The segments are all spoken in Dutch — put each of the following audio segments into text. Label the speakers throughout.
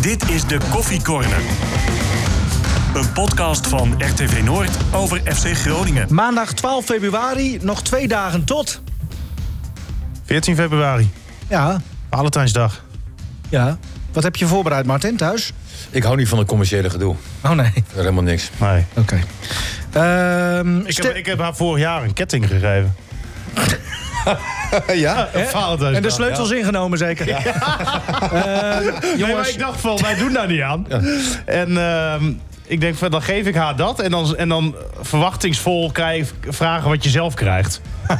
Speaker 1: Dit is de Koffie Corner. Een podcast van RTV Noord over FC Groningen.
Speaker 2: Maandag 12 februari, nog twee dagen tot.
Speaker 3: 14 februari,
Speaker 2: Ja,
Speaker 3: Valentijnsdag.
Speaker 2: ja. Wat heb je voorbereid, Martin, thuis?
Speaker 4: Ik hou niet van het commerciële gedoe.
Speaker 2: Oh nee, oké.
Speaker 4: Helemaal niks.
Speaker 3: Nee.
Speaker 2: Ehm,
Speaker 3: Ik
Speaker 2: ste-
Speaker 3: heb, ik heb haar vorig jaar een ketting gegeven.
Speaker 4: ja?
Speaker 3: Op Valentijnsdag.
Speaker 2: en de sleutels ingenomen zeker? Ehm,
Speaker 3: Nee, maar
Speaker 2: jongens,
Speaker 3: ik dacht van, wij doen daar niet aan. En ehm, ik denk van, dan geef ik haar dat. En dan, en dan verwachtingsvol krijg, vragen wat je zelf krijgt.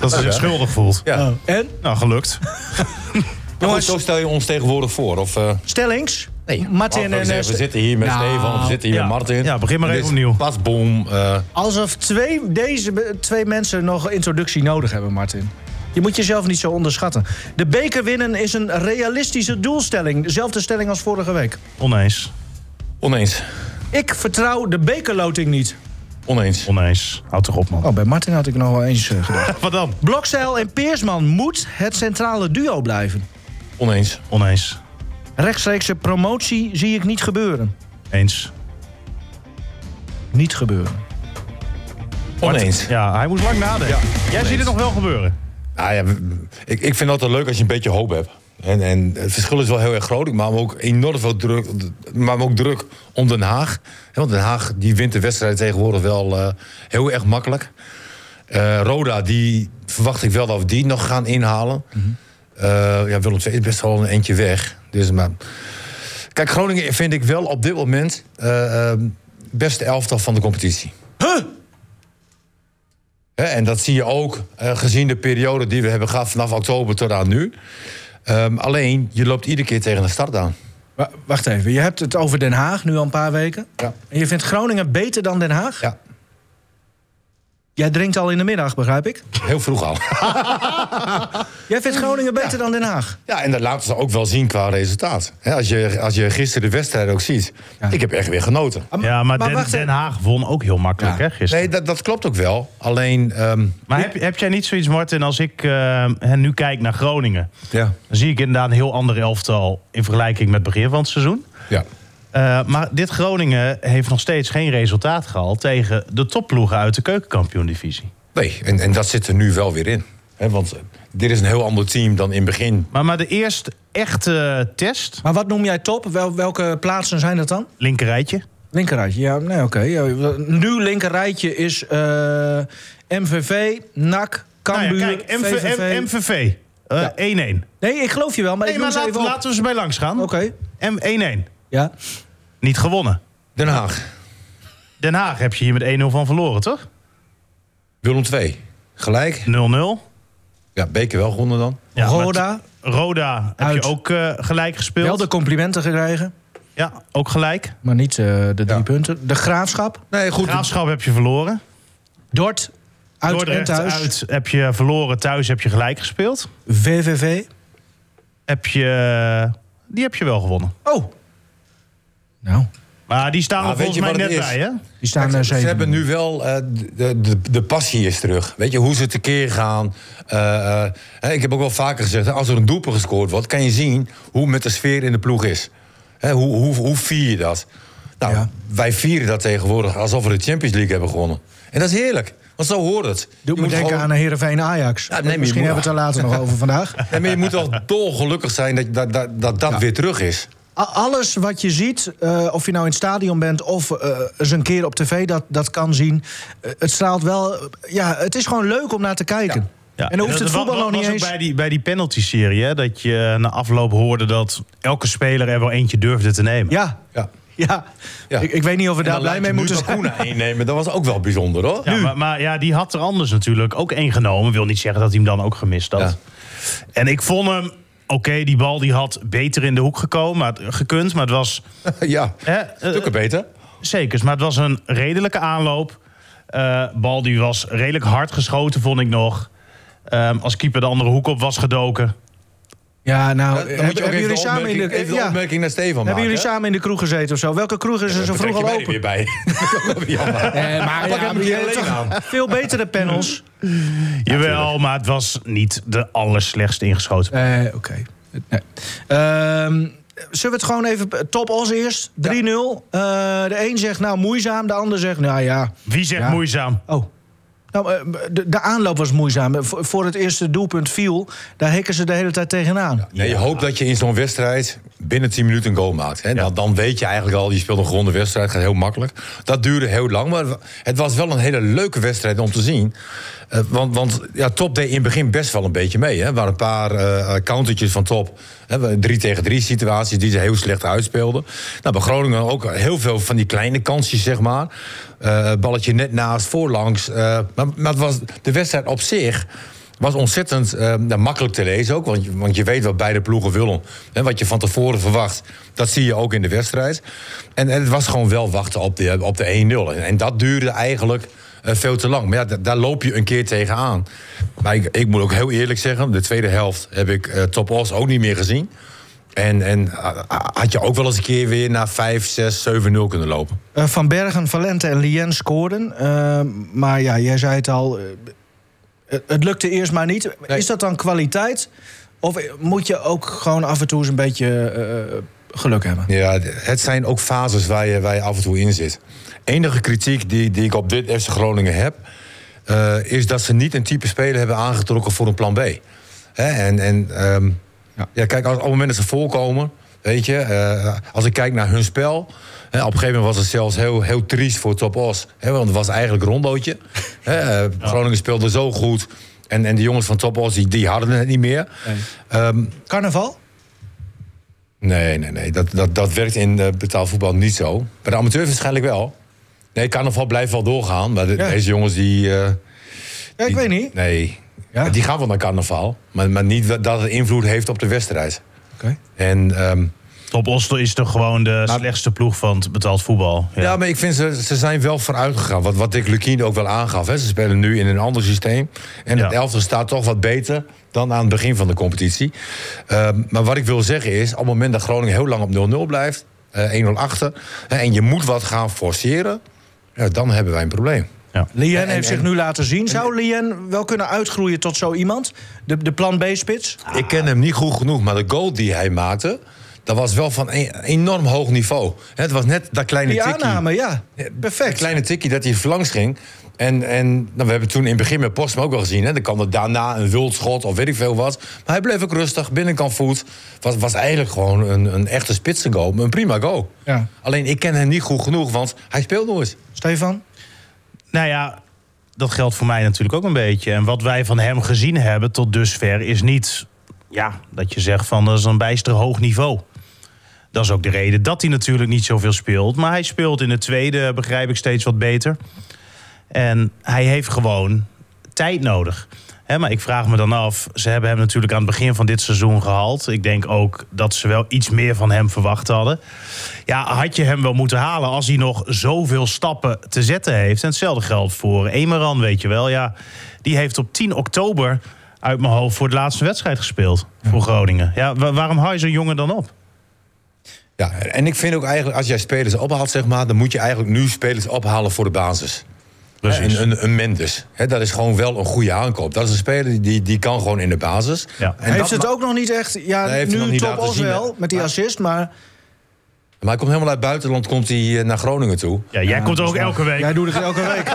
Speaker 3: Dat ze zich schuldig voelt.
Speaker 4: Ja.
Speaker 2: en?
Speaker 3: Nou, gelukt.
Speaker 4: Maar goed,
Speaker 2: Jongens,
Speaker 4: zo stel je ons tegenwoordig voor. Of, eh,
Speaker 2: stellings?
Speaker 4: nee.
Speaker 2: Martin
Speaker 4: Laten we
Speaker 2: en... eh,
Speaker 4: zeggen, we zitten hier met
Speaker 2: Nou,
Speaker 4: Stefan, we zitten hier
Speaker 3: ja.
Speaker 4: met Martin.
Speaker 3: Ja, begin maar
Speaker 4: Dit
Speaker 3: even
Speaker 4: is
Speaker 3: opnieuw.
Speaker 4: Pas boom. eh,
Speaker 2: Alsof twee, deze be- twee mensen nog introductie nodig hebben, Martin. Je moet jezelf niet zo onderschatten. De beker winnen is een realistische doelstelling. Dezelfde stelling als vorige week.
Speaker 3: Oneens.
Speaker 4: oneens.
Speaker 2: Ik vertrouw de bekerloting niet.
Speaker 4: Oneens.
Speaker 3: Oneens. Houd toch op, man.
Speaker 2: Oh, bij Martin had ik nog wel eens eh, gedacht.
Speaker 3: Wat dan?
Speaker 2: Blokzeil en Peersman moet het centrale duo blijven.
Speaker 4: Oneens.
Speaker 3: Oneens.
Speaker 2: Rechtstreekse promotie zie ik niet gebeuren.
Speaker 3: Eens.
Speaker 2: Niet gebeuren.
Speaker 4: Oneens.
Speaker 3: Ja, hij moet lang nadenken. Jij ziet het nog wel gebeuren.
Speaker 4: Nou ja, ik, ik vind het altijd leuk als je een beetje hoop hebt. En, en het verschil is wel heel erg groot. Ik maak me ook enorm veel druk, maar ook druk om Den Haag. Hè, Want Den Haag die wint de wedstrijd tegenwoordig wel eh, heel erg makkelijk. Eh, Roda, die verwacht ik wel dat we die nog gaan inhalen. Eh, ja, Willem II is best wel een eentje weg. Dus, maar... Kijk, Groningen vind ik wel op dit moment eh, eh, beste elftal van de competitie. Hè, en dat zie je ook eh, gezien de periode die we hebben gehad vanaf oktober tot aan nu. Ehm, alleen, je loopt iedere keer tegen de start aan.
Speaker 2: Wa- Wacht even, je hebt het over Den Haag nu al een paar weken.
Speaker 4: Ja.
Speaker 2: En je vindt Groningen beter dan Den Haag?
Speaker 4: Ja,
Speaker 2: Jij drinkt al in de middag, begrijp ik.
Speaker 4: heel vroeg al.
Speaker 2: Jij vindt Groningen beter dan Den Haag?
Speaker 4: Ja, en dat laten ze ook wel zien qua resultaat. Hè, als, je, als je gisteren de wedstrijd ook ziet.
Speaker 2: Ja.
Speaker 4: Ik heb echt weer genoten.
Speaker 2: Ah,
Speaker 3: Ja, maar, Den,
Speaker 2: wacht even.
Speaker 3: Den Haag won ook heel makkelijk,
Speaker 2: Ja.
Speaker 3: hè, gisteren.
Speaker 4: Nee, dat, dat klopt ook wel. Alleen, ehm,
Speaker 3: Maar heb, heb jij niet zoiets, Martin, als ik eh, nu kijk naar Groningen...
Speaker 4: ja.
Speaker 3: dan zie ik inderdaad een heel ander elftal in vergelijking met begin van het seizoen.
Speaker 4: ja.
Speaker 3: Eh, maar dit Groningen heeft nog steeds geen resultaat gehaald... tegen de topploegen uit de keukenkampioen-divisie.
Speaker 4: Nee, en, en dat zit er nu wel weer in. Hè, want eh, dit is een heel ander team dan in het begin.
Speaker 3: Maar, maar de eerste echte test,
Speaker 2: Maar wat noem jij top? Wel, welke plaatsen zijn dat dan?
Speaker 3: linkerrijtje...
Speaker 2: Linkerrijtje, ja, nee, oké. Ja, nu linkerrijtje is eh, MVV, NAC, Cambuur,
Speaker 3: Nou ja, kijk, MV,
Speaker 2: VVV.
Speaker 3: M- MVV. eh, 1-1.
Speaker 2: Nee, ik geloof je wel, maar
Speaker 3: Nee,
Speaker 2: ik noem
Speaker 3: maar
Speaker 2: ze
Speaker 3: laat-
Speaker 2: even op.
Speaker 3: laten we ze bij langs gaan.
Speaker 2: Oké,
Speaker 3: M 1-1.
Speaker 2: ja.
Speaker 3: Niet gewonnen.
Speaker 4: Den Haag,
Speaker 3: Den Haag heb je hier met 1-0 van verloren, toch? 0-0.
Speaker 4: Willem 2. Gelijk. Ja, Beker wel gewonnen dan.
Speaker 3: Ja, maar
Speaker 2: Roda,
Speaker 3: t- Roda heb
Speaker 2: Uit.
Speaker 3: je ook eh, gelijk gespeeld.
Speaker 2: wel de complimenten gekregen,
Speaker 3: Ja, ook gelijk.
Speaker 2: maar niet eh, de drie
Speaker 4: Ja.
Speaker 2: punten. De Graafschap,
Speaker 4: Nee, goed.
Speaker 3: Graafschap heb je verloren.
Speaker 2: Dort, uit
Speaker 3: Dordrecht
Speaker 2: en thuis,
Speaker 3: uit heb je verloren. Thuis heb je gelijk gespeeld.
Speaker 2: VVV.
Speaker 3: Heb je... Die heb je wel gewonnen.
Speaker 2: Oh, nou,
Speaker 3: Maar die staan
Speaker 4: Ah,
Speaker 3: er
Speaker 4: weet
Speaker 3: volgens mij
Speaker 4: je wat
Speaker 3: net
Speaker 4: het is?
Speaker 3: bij, hè?
Speaker 2: die staan
Speaker 4: Kijk,
Speaker 2: er
Speaker 4: ze, ze
Speaker 2: zeven.
Speaker 4: hebben nu wel eh, de, de, de passie is terug. Weet je, hoe ze tekeer gaan. Eh, eh, hè, ik heb ook wel vaker gezegd, hè, als er een doelpunt gescoord wordt, kan je zien hoe met de sfeer in de ploeg is. Hè, hoe, hoe, hoe vier je dat? Nou,
Speaker 2: Ja.
Speaker 4: wij vieren dat tegenwoordig alsof we de Champions League hebben gewonnen. En dat is heerlijk, want zo hoort het. Je
Speaker 2: Doe me
Speaker 4: moet
Speaker 2: denken
Speaker 4: gewoon-
Speaker 2: aan eh, Heerenveen Ajax.
Speaker 4: nee, maar je
Speaker 2: Misschien
Speaker 4: moet-
Speaker 2: hebben we het er later nog over vandaag.
Speaker 4: Ja, maar je moet wel dolgelukkig zijn dat dat, dat, dat, dat weer terug is.
Speaker 2: A- Alles wat je ziet, eh, of je nou in het stadion bent of eh, eens een keer op tv dat, dat kan zien. eh, het straalt wel. eh, ja, het is gewoon leuk om naar te kijken. En dan hoeft
Speaker 3: dat
Speaker 2: het
Speaker 3: wa-
Speaker 2: voetbal
Speaker 3: wa-
Speaker 2: nog niet
Speaker 3: was ook
Speaker 2: eens.
Speaker 3: Bij die, bij die penalty-serie, hè, dat je na afloop hoorde dat elke speler er wel eentje durfde te nemen.
Speaker 2: Ja,
Speaker 4: Ja.
Speaker 2: ja.
Speaker 4: Ja.
Speaker 2: Ik, ik weet niet of we
Speaker 4: En
Speaker 2: daar
Speaker 4: dan
Speaker 2: blij
Speaker 4: laat
Speaker 2: mee
Speaker 4: je nu
Speaker 2: moeten zijn.
Speaker 4: Bakuna innemen, dat was ook wel bijzonder hoor.
Speaker 3: Ja, maar, maar ja, die had er anders natuurlijk ook één genomen. Wil niet zeggen dat hij hem dan ook gemist had.
Speaker 4: Ja.
Speaker 3: En ik vond hem, oké, die bal die had beter in de hoek gekomen, maar, het- gekund. Maar het was,
Speaker 4: ja.
Speaker 3: hè,
Speaker 4: stukken beter.
Speaker 3: zeker, maar het was een redelijke aanloop. Eh, bal die was redelijk hard geschoten, vond ik nog. Ehm, als keeper de andere hoek op was gedoken.
Speaker 2: Ja, nou,
Speaker 4: Eh, Dan
Speaker 2: hebben,
Speaker 4: moet je ook
Speaker 2: hebben
Speaker 4: even
Speaker 2: jullie
Speaker 4: de
Speaker 2: samen in
Speaker 4: opmerking-
Speaker 2: de,
Speaker 4: even de
Speaker 2: ja, hebben
Speaker 4: opmerking naar Stefan maken.
Speaker 2: jullie samen in de kroeg gezeten of zo? Welke kroeg is er zo vroeg al open?
Speaker 4: weer bij. Dat is jammer.
Speaker 2: Eh, maar
Speaker 4: Pak
Speaker 2: ja, maar
Speaker 4: hem hier
Speaker 2: je hebt
Speaker 4: alleen
Speaker 2: toch veel betere panels.
Speaker 3: Jawel, maar het was niet de allerslechtst ingeschoten.
Speaker 2: Eh, Oké. Nee. Ehm, zullen we het gewoon even... Top Os eerst, 3-0. Eh, de een zegt nou moeizaam, de ander zegt nou ja...
Speaker 3: Wie zegt
Speaker 2: Ja.
Speaker 3: moeizaam?
Speaker 2: Oh. Nou, eh, de, de aanloop was moeizaam. Eh, Voor voor het eerste doelpunt viel, daar hikken ze de hele tijd tegenaan.
Speaker 4: Nee, je hoopt dat je in zo'n wedstrijd binnen 10 minuten een goal maakt. Hè? Dan, dan weet je eigenlijk al, je speelt een gewonde wedstrijd, gaat heel makkelijk. Dat duurde heel lang, maar het was wel een hele leuke wedstrijd om te zien. Eh, want want ja, Top deed in het begin best wel een beetje mee. Hè? Er waren een paar eh countertjes van Top. Hè? Drie tegen drie situaties die ze heel slecht uitspeelden. Nou, bij Groningen ook heel veel van die kleine kansjes, zeg maar. Eh, balletje net naast, voorlangs. Eh, maar maar het was, de wedstrijd op zich was ontzettend eh, nou, makkelijk te lezen ook. Want, je- want je weet wat beide ploegen willen. Hè, wat je van tevoren verwacht, dat zie je ook in de wedstrijd. En, en het was gewoon wel wachten op de, op de 1-0. En, en dat duurde eigenlijk eh, veel te lang. Maar ja, da- daar loop je een keer tegenaan. Maar ik, ik moet ook heel eerlijk zeggen... de tweede helft heb ik eh, Top Os ook niet meer gezien. En, en ah, ah, had je ook wel eens een keer weer naar 5, 6, 7-0 kunnen lopen.
Speaker 2: Eh, Van Bergen, Valente en Lien scoorden. Eh, maar ja, jij zei het al, eh, het- het lukte eerst maar niet.
Speaker 4: Nee.
Speaker 2: Is dat dan kwaliteit? Of moet je ook gewoon af en toe eens een beetje eh, geluk hebben?
Speaker 4: Ja, d- het zijn ook fases waar je, waar je af en toe in zit. Enige kritiek die, die ik op dit FC Groningen heb... eh, is dat ze niet een type speler hebben aangetrokken voor een plan B. Hè, en en ehm, ja. kijk, als, op het moment dat ze voorkomen... Weet je, eh, als ik kijk naar hun spel... Hè, op een gegeven moment was het zelfs heel, heel triest voor Top Os. Hè, want het was eigenlijk een rondootje. Hè, eh, Groningen speelde zo goed. En, en de jongens van Top Os die, die hadden het niet meer. Ehm,
Speaker 2: Carnaval?
Speaker 4: Nee, nee, nee. Dat, dat, dat werkt in eh, betaalvoetbal niet zo. Bij de amateur waarschijnlijk wel. Nee, carnaval blijft wel doorgaan. Maar de-
Speaker 2: Ja.
Speaker 4: deze jongens die... eh,
Speaker 2: Ja, ik
Speaker 4: die-
Speaker 2: weet niet.
Speaker 4: Nee.
Speaker 2: Ja?
Speaker 4: Die gaan wel naar carnaval. Maar, maar niet dat- dat het invloed heeft op de wedstrijd.
Speaker 2: Oké.
Speaker 4: En, ehm,
Speaker 3: Top Oslo is toch gewoon de slechtste ploeg van het betaald voetbal.
Speaker 4: ja. maar ik vind ze, ze zijn wel vooruit gegaan. Wat, wat Dick Lukien ook wel aangaf. Hè. Ze spelen nu in een ander systeem. En
Speaker 3: Ja.
Speaker 4: het elfde staat toch wat beter dan aan het begin van de competitie. Ehm, maar wat ik wil zeggen is, op het moment dat Groningen heel lang op 0-0 blijft... eh 1-0 achter, hè, en je moet wat gaan forceren... Ja, dan hebben wij een probleem.
Speaker 2: Lien
Speaker 4: en-
Speaker 2: heeft zich
Speaker 4: en-
Speaker 2: nu laten zien. Zou Lien wel kunnen uitgroeien tot zo iemand? De, de plan B-spits?
Speaker 4: Ik ken hem niet goed genoeg, maar de goal die hij maakte... dat was wel van een, enorm hoog niveau. Hè, Het was net dat kleine
Speaker 2: Die
Speaker 4: tikkie.
Speaker 2: aanname, ja.
Speaker 4: Perfect. kleine tikkie dat hij langs ging. En, en nou, we hebben toen in het begin met Postma ook al gezien. Hè? Dan kan er daarna een wildschot of weet ik veel wat. Maar hij bleef ook rustig, binnenkant voet. Was, was eigenlijk gewoon een, een echte spitse goal. Een prima goal.
Speaker 2: Ja.
Speaker 4: Alleen ik ken hem niet goed genoeg, want hij speelt nooit.
Speaker 2: Stefan?
Speaker 3: Nou ja, dat geldt voor mij natuurlijk ook een beetje. En wat wij van hem gezien hebben tot dusver is niet... Ja, dat je zegt van dat is een bijster hoog niveau. Dat is ook de reden dat hij natuurlijk niet zoveel speelt. Maar hij speelt in de tweede, begrijp ik, steeds wat beter. En hij heeft gewoon tijd nodig. Hè, maar ik vraag me dan af, ze hebben hem natuurlijk aan het begin van dit seizoen gehaald. Ik denk ook dat ze wel iets meer van hem verwacht hadden. Ja, had je hem wel moeten halen als hij nog zoveel stappen te zetten heeft. En hetzelfde geldt voor Emeran, weet je wel. Ja, die heeft op 10 oktober uit mijn hoofd voor de laatste wedstrijd gespeeld voor Groningen. Ja, wa- waarom haal je zo'n jongen dan op?
Speaker 4: Ja, en ik vind ook eigenlijk, als jij spelers ophaalt, zeg maar... dan moet je eigenlijk nu spelers ophalen voor de basis. Hè, Een, een, een Mendes. Hè, dat is gewoon wel een goede aankoop. Dat is een speler die, die kan gewoon in de basis.
Speaker 3: Ja.
Speaker 4: En
Speaker 2: heeft
Speaker 4: dat
Speaker 2: het
Speaker 4: ma-
Speaker 2: ook nog niet echt... Ja,
Speaker 4: Nee, heeft hij nog
Speaker 2: nu
Speaker 4: niet
Speaker 2: top
Speaker 4: laten
Speaker 2: Os
Speaker 4: zien, hè.
Speaker 2: wel, met die assist, maar...
Speaker 4: Maar hij komt helemaal uit het buitenland komt hij eh, naar Groningen toe.
Speaker 3: Ja, dus- jij komt er ook elke week.
Speaker 2: Jij doet het elke week.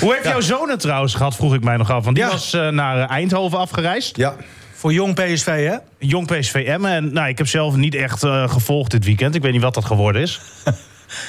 Speaker 3: Hoe heeft jouw zoon het trouwens gehad, vroeg ik mij nog af. Want die
Speaker 2: Ja.
Speaker 3: was eh, naar eh, Eindhoven afgereisd.
Speaker 4: Ja,
Speaker 2: Voor jong PSV, hè?
Speaker 3: Jong PSVM. En nou, ik heb zelf niet echt eh, gevolgd dit weekend. Ik weet niet wat dat geworden is.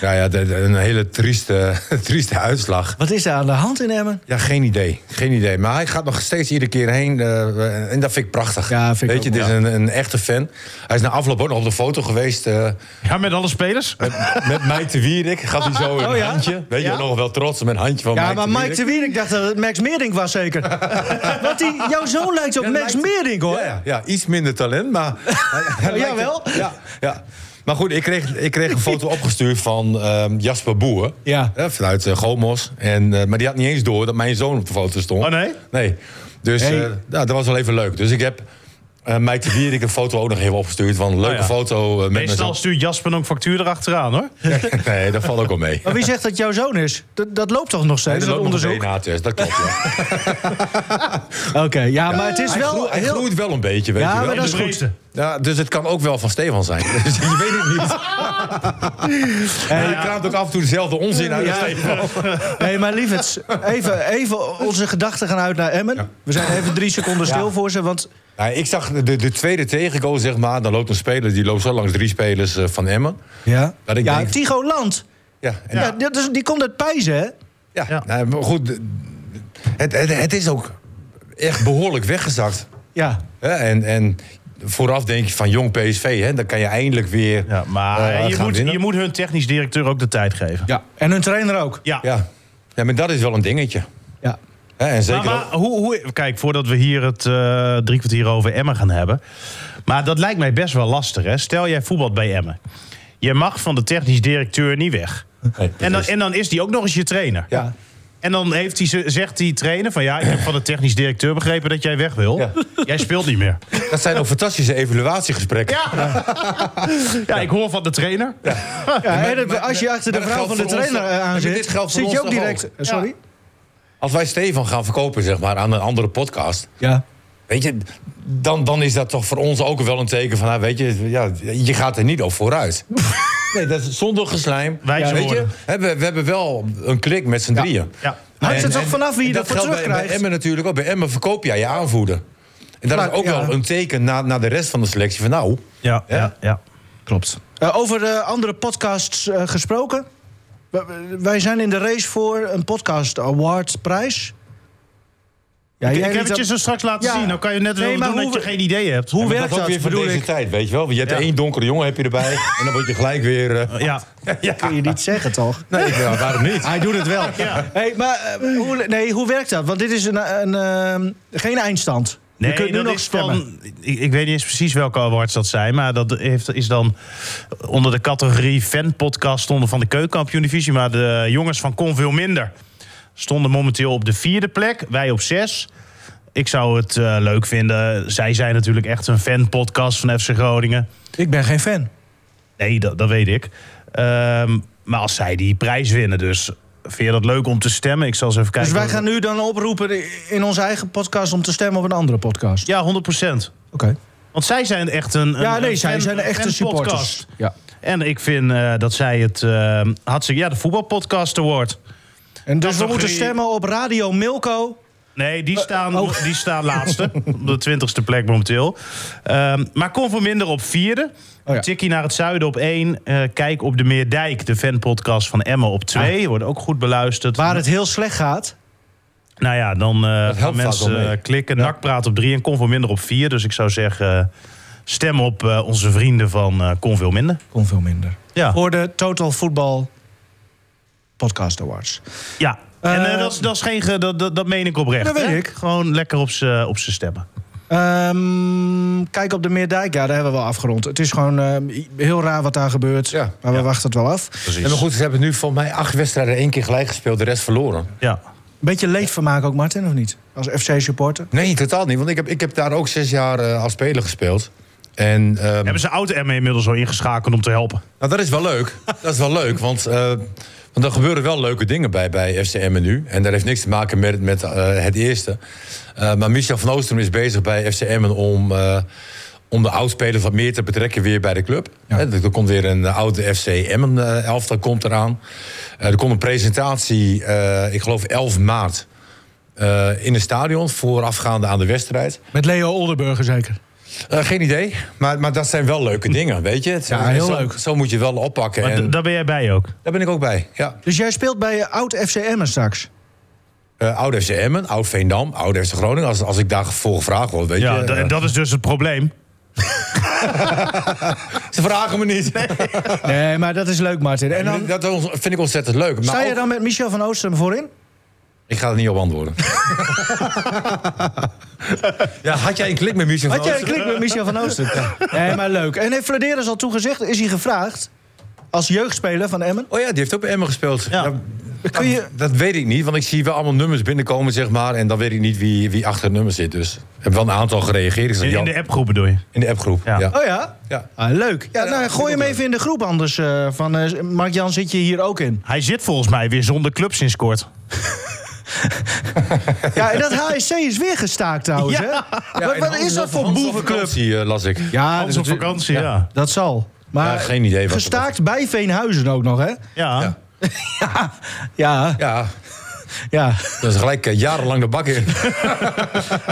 Speaker 4: ja, ja de- de- een hele trieste, trieste uitslag.
Speaker 2: Wat is er aan de hand in Emmen?
Speaker 4: Ja, geen idee. Geen idee. Maar hij gaat nog steeds iedere keer heen. eh, en dat vind ik prachtig.
Speaker 2: Ja, vind ik
Speaker 4: Weet je,
Speaker 2: ook,
Speaker 4: dit is
Speaker 2: ja.
Speaker 4: een, een echte fan. Hij is na afloop ook nog op de foto geweest. eh,
Speaker 3: Ja, met alle spelers.
Speaker 4: met Mike de Wierik. Gaat hij zo in
Speaker 2: Oh,
Speaker 4: een
Speaker 2: ja?
Speaker 4: handje. Weet
Speaker 3: Ja?
Speaker 4: je, nog wel trots op een handje van
Speaker 2: Ja,
Speaker 4: Mike
Speaker 2: maar
Speaker 4: de
Speaker 2: Mike de
Speaker 4: Wierik.
Speaker 2: Wien, ik dacht dat het Max Meerdink was zeker. Want die, jouw zoon lijkt op Max
Speaker 4: lijkt-
Speaker 2: Meerdink, hoor.
Speaker 4: Ja, ja, ja, iets minder talent, maar...
Speaker 2: Oh, jawel.
Speaker 4: Ja, ja. Maar goed, ik kreeg, ik kreeg een foto opgestuurd van ehm, Jasper Boer.
Speaker 2: Ja.
Speaker 4: Hè, vanuit eh, Gomos. En, eh, maar die had niet eens door dat mijn zoon op de foto stond.
Speaker 3: Oh, nee?
Speaker 4: Nee. Dus
Speaker 2: Hey.
Speaker 4: eh, ja, dat was wel even leuk. Dus ik heb eh Mike de Wier, ik een foto ook nog even opgestuurd. Want een leuke
Speaker 3: Oh ja.
Speaker 4: foto eh, met mijn
Speaker 3: Meestal
Speaker 4: zoon.
Speaker 3: stuurt Jasper ook factuur erachteraan hoor.
Speaker 4: Nee, dat valt ook al mee.
Speaker 2: Maar wie zegt dat jouw zoon is? Dat, dat loopt toch nog steeds,
Speaker 4: Nee, er
Speaker 2: dat
Speaker 4: loopt nog een
Speaker 2: onderzoek?
Speaker 4: DNA-test, dat klopt. Ja.
Speaker 2: Oké, ja, maar het is
Speaker 4: Hij, groeit,
Speaker 2: wel
Speaker 4: hij
Speaker 2: heel...
Speaker 4: groeit wel een beetje, weet
Speaker 2: Ja,
Speaker 4: je wel.
Speaker 2: maar dat is
Speaker 3: de
Speaker 2: goed.
Speaker 3: breedte.
Speaker 4: Ja, dus het kan ook wel van Stefan zijn. Dus je weet het niet. En je kraamt ook af en toe dezelfde onzin uit.
Speaker 2: Ja. Nee, maar lieverds, even, even onze gedachten gaan uit naar Emmen. We zijn even drie seconden stil voor ze, want...
Speaker 4: Nou, ik zag de, de tweede tegengoal, zeg maar. Dan loopt een speler, die loopt zo langs drie spelers eh, van Emmen.
Speaker 2: Ja,
Speaker 4: Dat ik
Speaker 2: ja
Speaker 4: denk-
Speaker 2: Tigo Land.
Speaker 4: Ja, en
Speaker 2: Ja. dat is- die komt uit Pijzen, hè?
Speaker 4: Ja,
Speaker 3: Ja.
Speaker 4: nou, maar goed. d- Het, het, het is ook echt behoorlijk weggezakt.
Speaker 2: Ja.
Speaker 4: Hè? En, en vooraf denk je van jong PSV, hè? dan kan je eindelijk weer.
Speaker 3: Ja, maar
Speaker 4: eh,
Speaker 3: je,
Speaker 4: gaan
Speaker 3: moet,
Speaker 4: winnen.
Speaker 3: je moet hun technisch directeur ook de tijd geven.
Speaker 2: ja. En hun trainer ook.
Speaker 3: Ja.
Speaker 4: Ja. ja, maar dat is wel een dingetje.
Speaker 2: Ja.
Speaker 4: Hè? En zeker
Speaker 3: Maar, maar hoe, hoe, kijk, voordat we hier het eh, drie kwartier over Emmen gaan hebben. Maar dat lijkt mij best wel lastig. Hè? Stel jij voetbalt bij Emmen. Je mag van de technisch directeur niet weg.
Speaker 4: ook- Nee,
Speaker 3: En dan,
Speaker 4: precies.
Speaker 3: en dan is die ook nog eens je trainer.
Speaker 4: Ja.
Speaker 3: En dan heeft hij, ze- zegt die trainer van... ja, ik heb van de technisch directeur begrepen dat jij weg wil.
Speaker 4: Ja.
Speaker 3: Jij speelt niet meer.
Speaker 4: Dat zijn ook fantastische evaluatiegesprekken.
Speaker 3: Ja, ik hoor van de trainer.
Speaker 2: Ja, en het- als je achter de
Speaker 4: maar dat
Speaker 2: vrouw van
Speaker 4: geldt
Speaker 2: de
Speaker 4: voor ons
Speaker 2: trainer
Speaker 4: toch-
Speaker 2: eh, aan
Speaker 4: Ja, maar
Speaker 2: zit,
Speaker 4: dit geldt voor
Speaker 2: zit je
Speaker 4: ons
Speaker 2: ook
Speaker 4: toch
Speaker 2: direct...
Speaker 4: ook?
Speaker 2: eh, Sorry?
Speaker 4: Als wij Stefan gaan verkopen zeg maar, aan een andere podcast.
Speaker 2: Ja.
Speaker 4: Weet je, dan, dan is dat toch voor ons ook wel een teken van, nou, weet je, ja, je gaat er niet op vooruit. Nee, dat is zonder geslijm.
Speaker 3: Wijze
Speaker 4: weet je,
Speaker 3: woorden.
Speaker 4: hè, we, we hebben wel een klik met z'n drieën.
Speaker 3: Ja.
Speaker 2: Hangt
Speaker 4: En-
Speaker 2: er toch
Speaker 4: en-
Speaker 2: vanaf wie je
Speaker 4: en
Speaker 2: ervoor
Speaker 4: geldt bij-
Speaker 2: terugkrijgt?
Speaker 4: Bij Emmen natuurlijk ook. Bij Emmen verkoop jij je aanvoerder. En dat
Speaker 2: Maar,
Speaker 4: is ook
Speaker 2: ja.
Speaker 4: wel een teken naar naar de rest van de selectie van, nou,
Speaker 3: Ja,
Speaker 4: Ja.
Speaker 3: ja, ja.
Speaker 2: Klopt. Eh, over eh, andere podcasts eh, gesproken. W- w- wij zijn in de race voor een podcast award prijs. Ja, jij
Speaker 3: Ik, ik
Speaker 2: liet
Speaker 3: heb het
Speaker 2: dat-
Speaker 3: je zo straks laten
Speaker 2: Ja.
Speaker 3: zien. Dan kan je net
Speaker 2: Nee,
Speaker 3: wel
Speaker 2: maar
Speaker 3: doen
Speaker 2: hoe
Speaker 3: dat je
Speaker 2: we-
Speaker 3: geen idee hebt.
Speaker 2: Hoe
Speaker 4: maar
Speaker 2: werkt
Speaker 4: dat ook
Speaker 2: dat?
Speaker 4: weer van
Speaker 2: bedoel
Speaker 4: deze
Speaker 2: ik?
Speaker 4: tijd, weet je wel. Je hebt
Speaker 3: Ja.
Speaker 4: één donkere jongen heb je erbij en dan word je gelijk weer... eh,
Speaker 3: Ja.
Speaker 4: ja.
Speaker 2: Kun je niet zeggen, toch?
Speaker 4: Nee, ja, waarom niet?
Speaker 2: Hij doet het wel. Hey, maar eh, hoe, nee, hoe werkt dat? Want dit is een, een, eh, geen eindstand. je kunt nu nog
Speaker 3: is
Speaker 2: stemmen.
Speaker 3: van- ik, ik weet niet eens precies welke awards dat zijn. Maar dat heeft, is dan onder de categorie fanpodcast stonden van de Keukenkampioen Divisie. Maar de jongens van Kon veel minder stonden momenteel op de vierde plek. Wij op zes. Ik zou het eh, leuk vinden. Zij zijn natuurlijk echt een fanpodcast van FC Groningen.
Speaker 2: Ik ben geen fan.
Speaker 3: Nee, dat, dat weet ik. Ehm, maar als zij die prijs winnen, dus vind je dat leuk om te stemmen? Ik zal eens even
Speaker 2: Dus
Speaker 3: kijken.
Speaker 2: wij gaan nu dan oproepen in onze eigen podcast om te stemmen op een andere podcast.
Speaker 3: Ja, 100 procent.
Speaker 2: Oké.
Speaker 3: Want zij zijn echt een. een
Speaker 2: Ja, nee,
Speaker 3: een
Speaker 2: zij
Speaker 3: fan-
Speaker 2: zijn de
Speaker 3: een
Speaker 2: echte
Speaker 3: fanpodcast.
Speaker 2: supporters. Ja.
Speaker 3: En ik vind eh, dat zij het eh, had ze ja de voetbalpodcast award.
Speaker 2: En dus we
Speaker 3: Categorie-
Speaker 2: moeten stemmen op Radio Milko.
Speaker 3: Nee,
Speaker 2: Eh,
Speaker 3: die staan,
Speaker 2: oh.
Speaker 3: die staan laatste. op de twintigste plek momenteel. Ehm, maar kon voor minder op vierde.
Speaker 2: Oh ja.
Speaker 3: Tikkie naar het zuiden op één. Eh, kijk op de Meerdijk, de fanpodcast van Emmen op twee. Wordt ook goed beluisterd.
Speaker 2: Ah. Waar het heel slecht gaat.
Speaker 3: Nou ja, dan eh, gaan
Speaker 4: helpt vaak
Speaker 3: mensen
Speaker 4: wel mee.
Speaker 3: eh, klikken. Nakpraat op drie en kon voor minder op vier. Dus ik zou zeggen, eh, stem op eh, onze vrienden van eh kon veel minder.
Speaker 2: Kon veel minder.
Speaker 3: Ja.
Speaker 2: Voor de Total Football Podcast Awards.
Speaker 3: Ja, en
Speaker 2: Eh,
Speaker 3: eh, dat, is- dat, is geen ge- dat, dat, dat meen ik oprecht.
Speaker 2: Dat weet
Speaker 3: hè?
Speaker 2: ik.
Speaker 3: Gewoon lekker op ze op ze stemmen.
Speaker 2: Ehm, kijk op de Meerdijk. Ja, daar hebben we wel afgerond. Het is gewoon ehm, heel raar wat daar gebeurt.
Speaker 4: Ja.
Speaker 2: Maar we wachten het wel af.
Speaker 4: En maar goed, ze hebben nu volgens mij acht wedstrijden één keer gelijk gespeeld, de rest verloren.
Speaker 3: Ja.
Speaker 2: Beetje leedvermaak ook, Martin, of niet? Als FC-supporter.
Speaker 4: Nee, totaal niet. Want ik heb, ik heb daar ook zes jaar eh, als speler gespeeld. En ehm,
Speaker 3: Hebben ze oud ME inmiddels al ingeschakeld om te helpen?
Speaker 4: nou, dat is wel leuk. Dat is wel leuk, want, eh, want er gebeuren wel leuke dingen bij, bij FCM nu. En dat heeft niks te maken met, met eh, het eerste. Eh, maar Michel van Oostrum is bezig bij FCM om, eh, om de oudspelers wat meer te betrekken weer bij de club. Hè, er er komt weer een eh, oude FC Emmen eh, elftal komt eraan. Eh, er komt een presentatie, eh, ik geloof 11 maart, eh, in het stadion voorafgaande aan de wedstrijd.
Speaker 2: Met Leo Oldenburger zeker.
Speaker 4: Eh, geen idee, maar, maar dat zijn wel leuke dingen, weet je. Het-
Speaker 2: Ja, heel
Speaker 4: zo,
Speaker 2: leuk.
Speaker 4: Zo moet je wel oppakken.
Speaker 3: Maar
Speaker 4: En
Speaker 3: d- daar ben jij bij ook.
Speaker 4: daar ben ik ook bij, ja.
Speaker 2: Dus jij speelt bij eh, oud FCM'en straks?
Speaker 4: Eh oud FC Emmen, oud Veendam, oud FC Groningen. Als, als ik daarvoor gevraagd word, weet
Speaker 3: Ja,
Speaker 4: je.
Speaker 3: d- en
Speaker 4: eh,
Speaker 3: dat is dus het probleem.
Speaker 4: Ze vragen me niet.
Speaker 2: Nee, maar dat is leuk, Martin. En dan,
Speaker 4: dat ons- vind ik ontzettend leuk. Maar
Speaker 2: sta je
Speaker 4: ook-
Speaker 2: dan met Michel van Oostrum voorin?
Speaker 4: Ik ga er niet op antwoorden. ja, had jij een klik met Michel van
Speaker 2: Had jij een
Speaker 4: Oosten?
Speaker 2: klik met Michel van Oostrum? Nee, maar leuk. En heeft Fladeres al toegezegd? Is hij gevraagd als jeugdspeler van Emmen?
Speaker 4: Oh ja, die heeft ook bij Emmen gespeeld.
Speaker 3: Ja.
Speaker 4: Ja,
Speaker 2: Kun je,
Speaker 4: Dat weet ik niet, want ik zie wel allemaal nummers binnenkomen, zeg maar. En dan weet ik niet wie, wie achter het nummer zit. Dus ik heb wel een aantal gereageerd. Ik zeg,
Speaker 3: In, in
Speaker 4: Jan-
Speaker 3: de appgroep bedoel je?
Speaker 4: in de appgroep.
Speaker 3: Ja.
Speaker 4: Ja.
Speaker 2: oh ja?
Speaker 4: Ja.
Speaker 2: Ah, leuk. Ja, nou, gooi hem even in de groep anders. eh, van, eh, Mark-Jan, zit je hier ook in?
Speaker 3: Hij zit volgens mij weer zonder club sinds kort.
Speaker 2: Ah, Ja, en dat HSC is weer gestaakt trouwens, hè?
Speaker 3: Ja.
Speaker 4: Ja,
Speaker 2: Wat,
Speaker 4: en
Speaker 2: wat
Speaker 4: Hans
Speaker 2: is dat
Speaker 4: op-
Speaker 2: voor
Speaker 4: Hans op
Speaker 2: boevenclub?
Speaker 4: vakantie, eh, las ik.
Speaker 2: Ja,
Speaker 3: Hans op
Speaker 2: dat-
Speaker 3: vakantie, ja.
Speaker 2: Dat zal. Maar
Speaker 4: Ja, geen idee wat dat
Speaker 2: gestaakt bij Veenhuizen ook nog, hè?
Speaker 3: Ja.
Speaker 4: Ja.
Speaker 2: Ja,
Speaker 4: Ja,
Speaker 2: ja.
Speaker 4: dat is gelijk eh, jarenlang de bak in.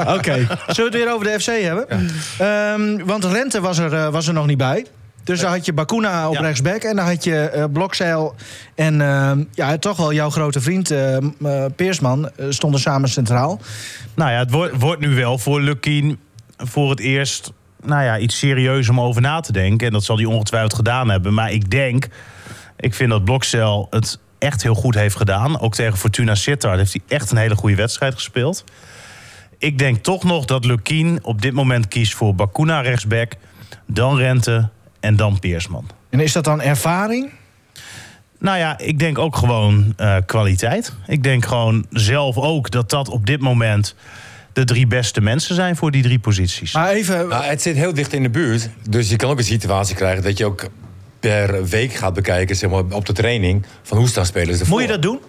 Speaker 2: Oké. Zullen we het weer over de FC hebben? Ehm, want Rente was er, eh, was er nog niet bij. Dus dan had je Bakuna op
Speaker 3: Ja.
Speaker 2: rechtsback. En dan had je eh Blokzeil en ehm, ja, toch wel jouw grote vriend eh, m- eh, Peersman eh, stonden samen centraal.
Speaker 3: Nou ja, het wordt, wordt nu wel voor Lukien voor het eerst nou ja, iets serieus om over na te denken. En dat zal hij ongetwijfeld gedaan hebben. Maar ik denk, ik vind dat Blokcel het echt heel goed heeft gedaan. Ook tegen Fortuna Sittard heeft hij echt een hele goede wedstrijd gespeeld. Ik denk toch nog dat Lukien op dit moment kiest voor Bakuna rechtsback, dan Rente en dan Peersman.
Speaker 2: En is dat dan ervaring?
Speaker 3: Nou ja, ik denk ook gewoon eh, kwaliteit. Ik denk gewoon zelf ook dat dat op dit moment de drie beste mensen zijn voor die drie posities.
Speaker 2: Maar even...
Speaker 4: Nou, het zit heel dicht in de buurt. Dus je kan ook een situatie krijgen dat je ook per week gaat bekijken, zeg maar, op de training, van hoe staan spelers ervoor.
Speaker 2: moet je dat doen?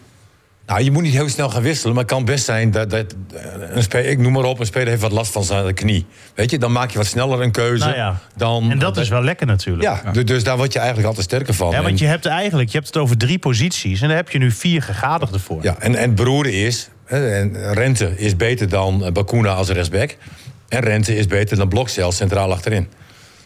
Speaker 4: Nou, je moet niet heel snel gaan wisselen, maar het kan best zijn dat, dat eh, een speler, ik noem maar op, een speler heeft wat last van zijn knie. Weet je, dan maak je wat sneller een keuze.
Speaker 3: nou ja,
Speaker 4: dan,
Speaker 3: en dat is wel lekker natuurlijk.
Speaker 4: Ja, du- dus daar word je eigenlijk altijd sterker van.
Speaker 3: Hè,
Speaker 4: En-
Speaker 3: want je hebt eigenlijk, je hebt het over drie posities en daar heb je nu vier gegadigden voor.
Speaker 4: Ja, en, en het beroerde is, hè, en Rente is beter dan eh, Bakuna als rechtsback. En Rente is beter dan Blokcel centraal achterin.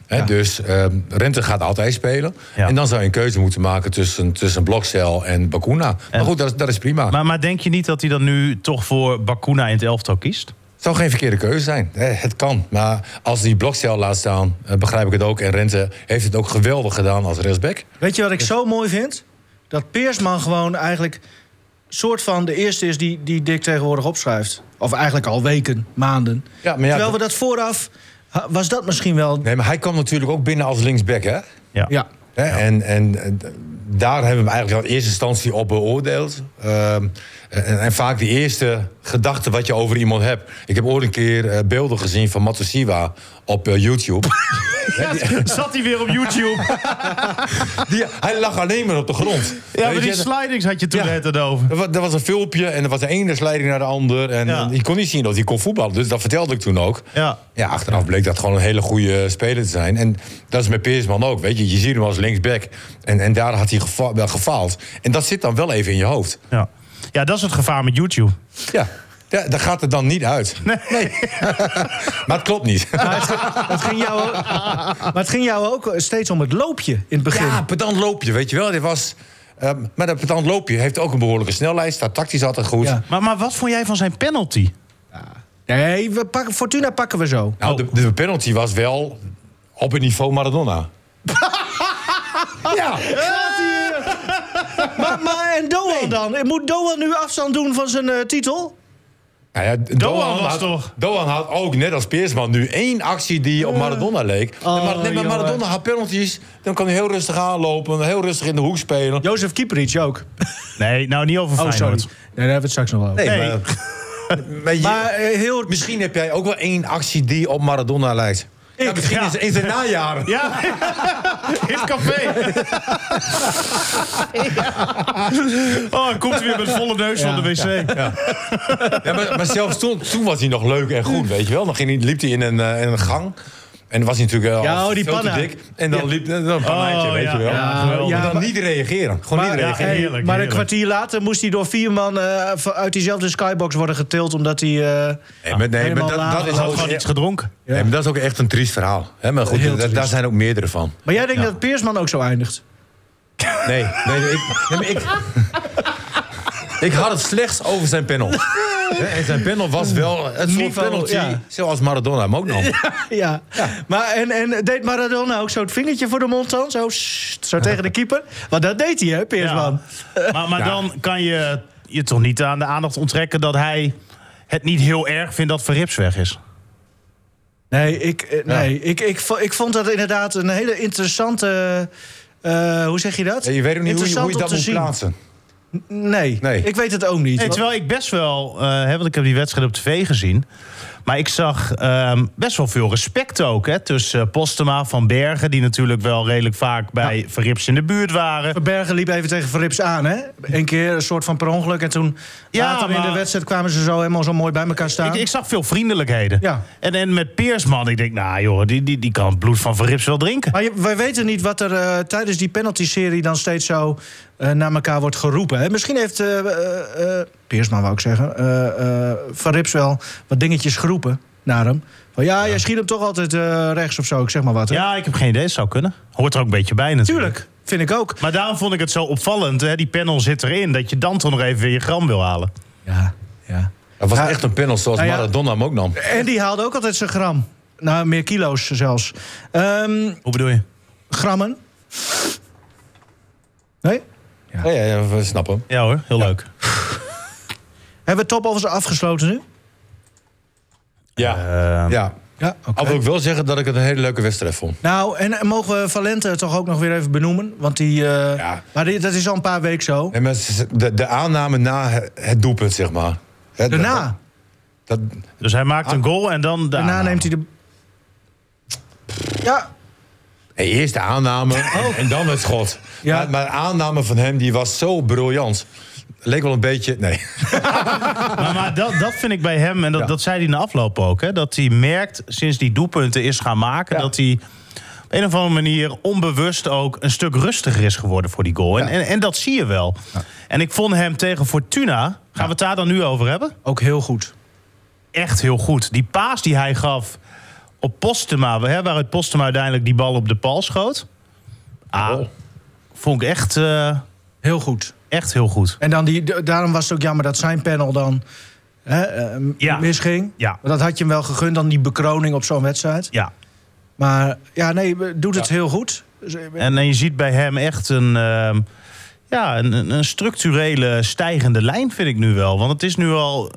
Speaker 4: Hè, Dus ehm, Rente gaat altijd spelen.
Speaker 3: Ja.
Speaker 4: En dan zou je een keuze moeten maken tussen, tussen Blokcel en Bakuna. Maar goed, dat is, dat is prima.
Speaker 3: Maar, maar denk je niet dat hij dan nu toch voor Bakuna in het elftal kiest?
Speaker 4: Het zou geen verkeerde keuze zijn. Hè, Het kan. Maar als die Blokcel laat staan, eh, begrijp ik het ook. En Rente heeft het ook geweldig gedaan als rechtsback.
Speaker 2: Weet je wat ik zo mooi vind? Dat Peersman gewoon eigenlijk soort van de eerste is die, die Dick tegenwoordig opschrijft. Of eigenlijk al weken, maanden.
Speaker 4: Ja, maar ja,
Speaker 2: Terwijl we
Speaker 4: dat-
Speaker 2: dat vooraf... ha- Was dat misschien wel...
Speaker 4: Nee, maar hij kwam natuurlijk ook binnen als linksback, hè?
Speaker 3: Ja.
Speaker 2: Ja.
Speaker 4: Hè, En, en eh, d- daar hebben we hem eigenlijk in eerste instantie op beoordeeld. Ehm, en, en vaak de eerste gedachte wat je over iemand hebt. Ik heb ooit een keer eh, beelden gezien van Matosiwa op eh, YouTube.
Speaker 3: Zat hij weer op YouTube?
Speaker 4: Die, hij lag alleen maar op de grond.
Speaker 3: ja, maar
Speaker 4: Weet
Speaker 3: die
Speaker 4: je,
Speaker 3: slidings had je toen
Speaker 4: Ja.
Speaker 3: net het over.
Speaker 4: er wa- er was een filmpje en er was de ene sliding naar de ander. En,
Speaker 3: Ja.
Speaker 4: en je kon niet zien dat hij kon voetballen. Dus dat vertelde ik toen ook.
Speaker 3: Ja.
Speaker 4: Ja, achteraf bleek dat gewoon een hele goede eh, speler te zijn. En dat is met Peersman ook, weet je. Je ziet hem als linksback. En, en daar had hij gefa- wel gefaald. En dat zit dan wel even in je hoofd.
Speaker 3: Ja. ja, dat is het gevaar met YouTube.
Speaker 4: Ja, ja dat gaat er dan niet uit. Nee. maar het klopt niet.
Speaker 2: Het ging jou, maar het ging jou ook steeds om het loopje in het begin.
Speaker 4: Ja, pedant loopje, weet je wel. Dit was, ehm, maar dat pedant loopje heeft ook een behoorlijke snelheid. Staat tactisch altijd goed.
Speaker 2: Ja.
Speaker 3: Maar, maar wat vond jij van zijn penalty?
Speaker 2: Nee, we pakken, Fortuna pakken we zo.
Speaker 4: Nou, de, de penalty was wel op het niveau Maradona. ja,
Speaker 2: Maar, maar en Doan dan? Moet Doan nu afstand doen van zijn eh, titel?
Speaker 4: Nou ja, Doan,
Speaker 3: was
Speaker 4: had,
Speaker 3: toch-
Speaker 4: Doan had ook, net als Peersman, nu één actie die op Maradona leek. En Mar- nee, maar
Speaker 2: jongen.
Speaker 4: Maradona had penalties. Dan kan hij heel rustig aanlopen, heel rustig in de hoek spelen.
Speaker 2: Jozef Kieperits ook.
Speaker 3: Nee, nou niet over
Speaker 2: Oh, sorry.
Speaker 3: Feyenoord.
Speaker 2: Nee, daar hebben we het straks nog wel over.
Speaker 4: Nee,
Speaker 3: Nee.
Speaker 4: maar- maar je-
Speaker 2: Maar eh, heel...
Speaker 4: Misschien heb jij ook wel één actie die op Maradona lijkt. ja, misschien
Speaker 3: ja.
Speaker 4: is in zijn najaar.
Speaker 3: Ja, in het café. Oh, hij komt hij weer met volle neus van de wc.
Speaker 4: Ja, maar, maar zelfs toen, toen was hij nog leuk en goed, weet je wel. Dan ging hij, liep hij in een, eh, in een gang. En dan was hij natuurlijk wel
Speaker 2: Ja, oh, die
Speaker 4: veel te
Speaker 2: panna.
Speaker 4: dik. En dan liep dan een pannaatje,
Speaker 3: Oh,
Speaker 4: weet
Speaker 3: ja,
Speaker 4: je wel.
Speaker 3: ja,
Speaker 4: Maar
Speaker 2: ja,
Speaker 4: dan
Speaker 2: maar-
Speaker 4: niet reageren. Gewoon niet
Speaker 2: Maar,
Speaker 4: reageren.
Speaker 2: hey,
Speaker 3: Heerlijk,
Speaker 2: maar een
Speaker 3: heerlijk.
Speaker 2: kwartier later moest hij door vier man eh, v- uit diezelfde skybox worden getild. Omdat hij. eh,
Speaker 4: Nee, maar, nee, maar
Speaker 2: Helemaal
Speaker 4: dat,
Speaker 2: laag.
Speaker 4: dat is
Speaker 3: Hij had
Speaker 4: ook,
Speaker 3: gewoon iets gedronken.
Speaker 4: nee, maar dat is ook echt een triest verhaal. Hè, maar goed,
Speaker 2: Heel
Speaker 4: daar- daar
Speaker 2: triest.
Speaker 4: zijn ook meerdere van.
Speaker 2: Maar jij denkt dat Peersman ook zo eindigt?
Speaker 4: Nee, nee, nee, ik, nee, maar ik, ik had het slechts over zijn panel. Hè, En zijn panel was wel het soort
Speaker 2: Niveau,
Speaker 4: penalty
Speaker 2: ja.
Speaker 4: zoals Maradona hem ook nam.
Speaker 2: Ja. Maar en, en deed Maradona ook zo het vingertje voor de mond dan? Zo, sst, zo tegen de keeper? Want dat deed hij, hè, Peersman?
Speaker 3: Maar, maar dan kan je je toch niet aan de aandacht onttrekken dat hij het niet heel erg vindt dat Verrips weg is.
Speaker 2: Nee, ik, eh, nee ik, ik, vo- ik vond dat inderdaad een hele interessante. eh, hoe zeg je dat?
Speaker 4: Ja, je weet ook niet hoe je, hoe
Speaker 2: Interessant
Speaker 4: je dat
Speaker 2: om
Speaker 4: moet
Speaker 2: te zien.
Speaker 4: plaatsen.
Speaker 2: Nee,
Speaker 4: Nee.
Speaker 2: ik weet het ook niet.
Speaker 3: Nee, terwijl ik best wel, eh, hè, want ik heb die wedstrijd op tv gezien. Maar ik zag ehm, best wel veel respect ook. Hè, tussen eh, Postema, Van Bergen, die natuurlijk wel redelijk vaak bij Verrips in de buurt waren.
Speaker 2: Bergen liep even tegen Verrips aan, hè? Eén keer een soort van per ongeluk. En toen
Speaker 3: Ja,
Speaker 2: later in
Speaker 3: maar-
Speaker 2: de wedstrijd kwamen ze zo helemaal zo mooi bij elkaar staan.
Speaker 3: Ik, ik zag veel vriendelijkheden.
Speaker 2: Ja.
Speaker 3: En, en met Peersman, ik denk, nou joh, die, die, die kan het bloed van Verrips wel drinken.
Speaker 2: Maar je- wij weten niet wat er eh, tijdens die penalty-serie dan steeds zo eh, naar elkaar wordt geroepen. Hè? Misschien heeft eh eh, eh, Peersma, wou ik zeggen, eh, eh, Van Rips wel wat dingetjes geroepen naar hem. Van ja, jij schiet hem toch altijd eh, rechts of zo, ik zeg maar wat. hè?
Speaker 3: Ja, ik heb geen idee, het zou kunnen. Hoort er ook een beetje bij natuurlijk.
Speaker 2: Tuurlijk, vind ik ook.
Speaker 3: Maar daarom vond ik het zo opvallend, hè, die panel zit erin, dat je dan toch nog even weer je gram wil halen.
Speaker 2: Ja, ja.
Speaker 4: Het was echt een panel zoals
Speaker 2: Nou ja.
Speaker 4: Maradona hem ook nam.
Speaker 2: En die haalde ook altijd zijn gram. Nou, meer kilo's zelfs. Ehm,
Speaker 3: Hoe bedoel je?
Speaker 2: grammen. Nee?
Speaker 4: Ja, ja, ja, we snappen hem.
Speaker 3: Ja hoor, heel leuk.
Speaker 2: Hebben we top overigens afgesloten nu?
Speaker 4: Ja.
Speaker 3: Eh,
Speaker 4: Ehm, ja.
Speaker 2: Ja, oké.
Speaker 4: Al wil ik wel zeggen dat ik het een hele leuke wedstrijd vond.
Speaker 2: Nou, en eh, mogen we Valente toch ook nog weer even benoemen? Want die. eh,
Speaker 4: Ja.
Speaker 2: Maar die- dat is al een paar weken zo.
Speaker 4: En met de, de aanname na het- het doelpunt, zeg maar. Hè,
Speaker 2: Daarna.
Speaker 4: Dat,
Speaker 3: dus hij maakt een goal en dan...
Speaker 2: Daarna
Speaker 3: daarna.
Speaker 2: neemt hij de. Ja,
Speaker 4: nee, eerst de aanname en, en dan het schot.
Speaker 2: Ja.
Speaker 4: Maar, maar de aanname van hem die was zo briljant. Leek wel een beetje... Nee.
Speaker 3: Maar, maar dat, dat vind ik bij hem, en dat, dat zei hij na afloop ook, hè, dat hij merkt sinds die doelpunten is gaan maken, dat hij op een of andere manier onbewust ook een stuk rustiger is geworden voor die goal. En, en, en dat zie je wel. En ik vond hem tegen Fortuna, gaan we het daar dan nu over hebben?
Speaker 2: ook heel goed.
Speaker 3: Echt heel goed. Die paas die hij gaf op Postema, hè, waaruit Postema uiteindelijk die bal op de paal schoot, ah,
Speaker 4: Oh.
Speaker 3: vond ik echt, eh,
Speaker 2: Heel goed.
Speaker 3: echt heel goed.
Speaker 2: En dan die, d- daarom was het ook jammer dat zijn panel dan hè, eh, m-
Speaker 3: Ja.
Speaker 2: misging.
Speaker 3: Ja.
Speaker 2: Want dat had je hem wel gegund, dan die bekroning op zo'n wedstrijd.
Speaker 3: Ja,
Speaker 2: Maar ja, nee, we- doet het heel goed. Dus, eh,
Speaker 3: En, en je ziet bij hem echt een, ehm, ja, een- een, een structurele stijgende lijn, vind ik nu wel. Want het is nu al eh,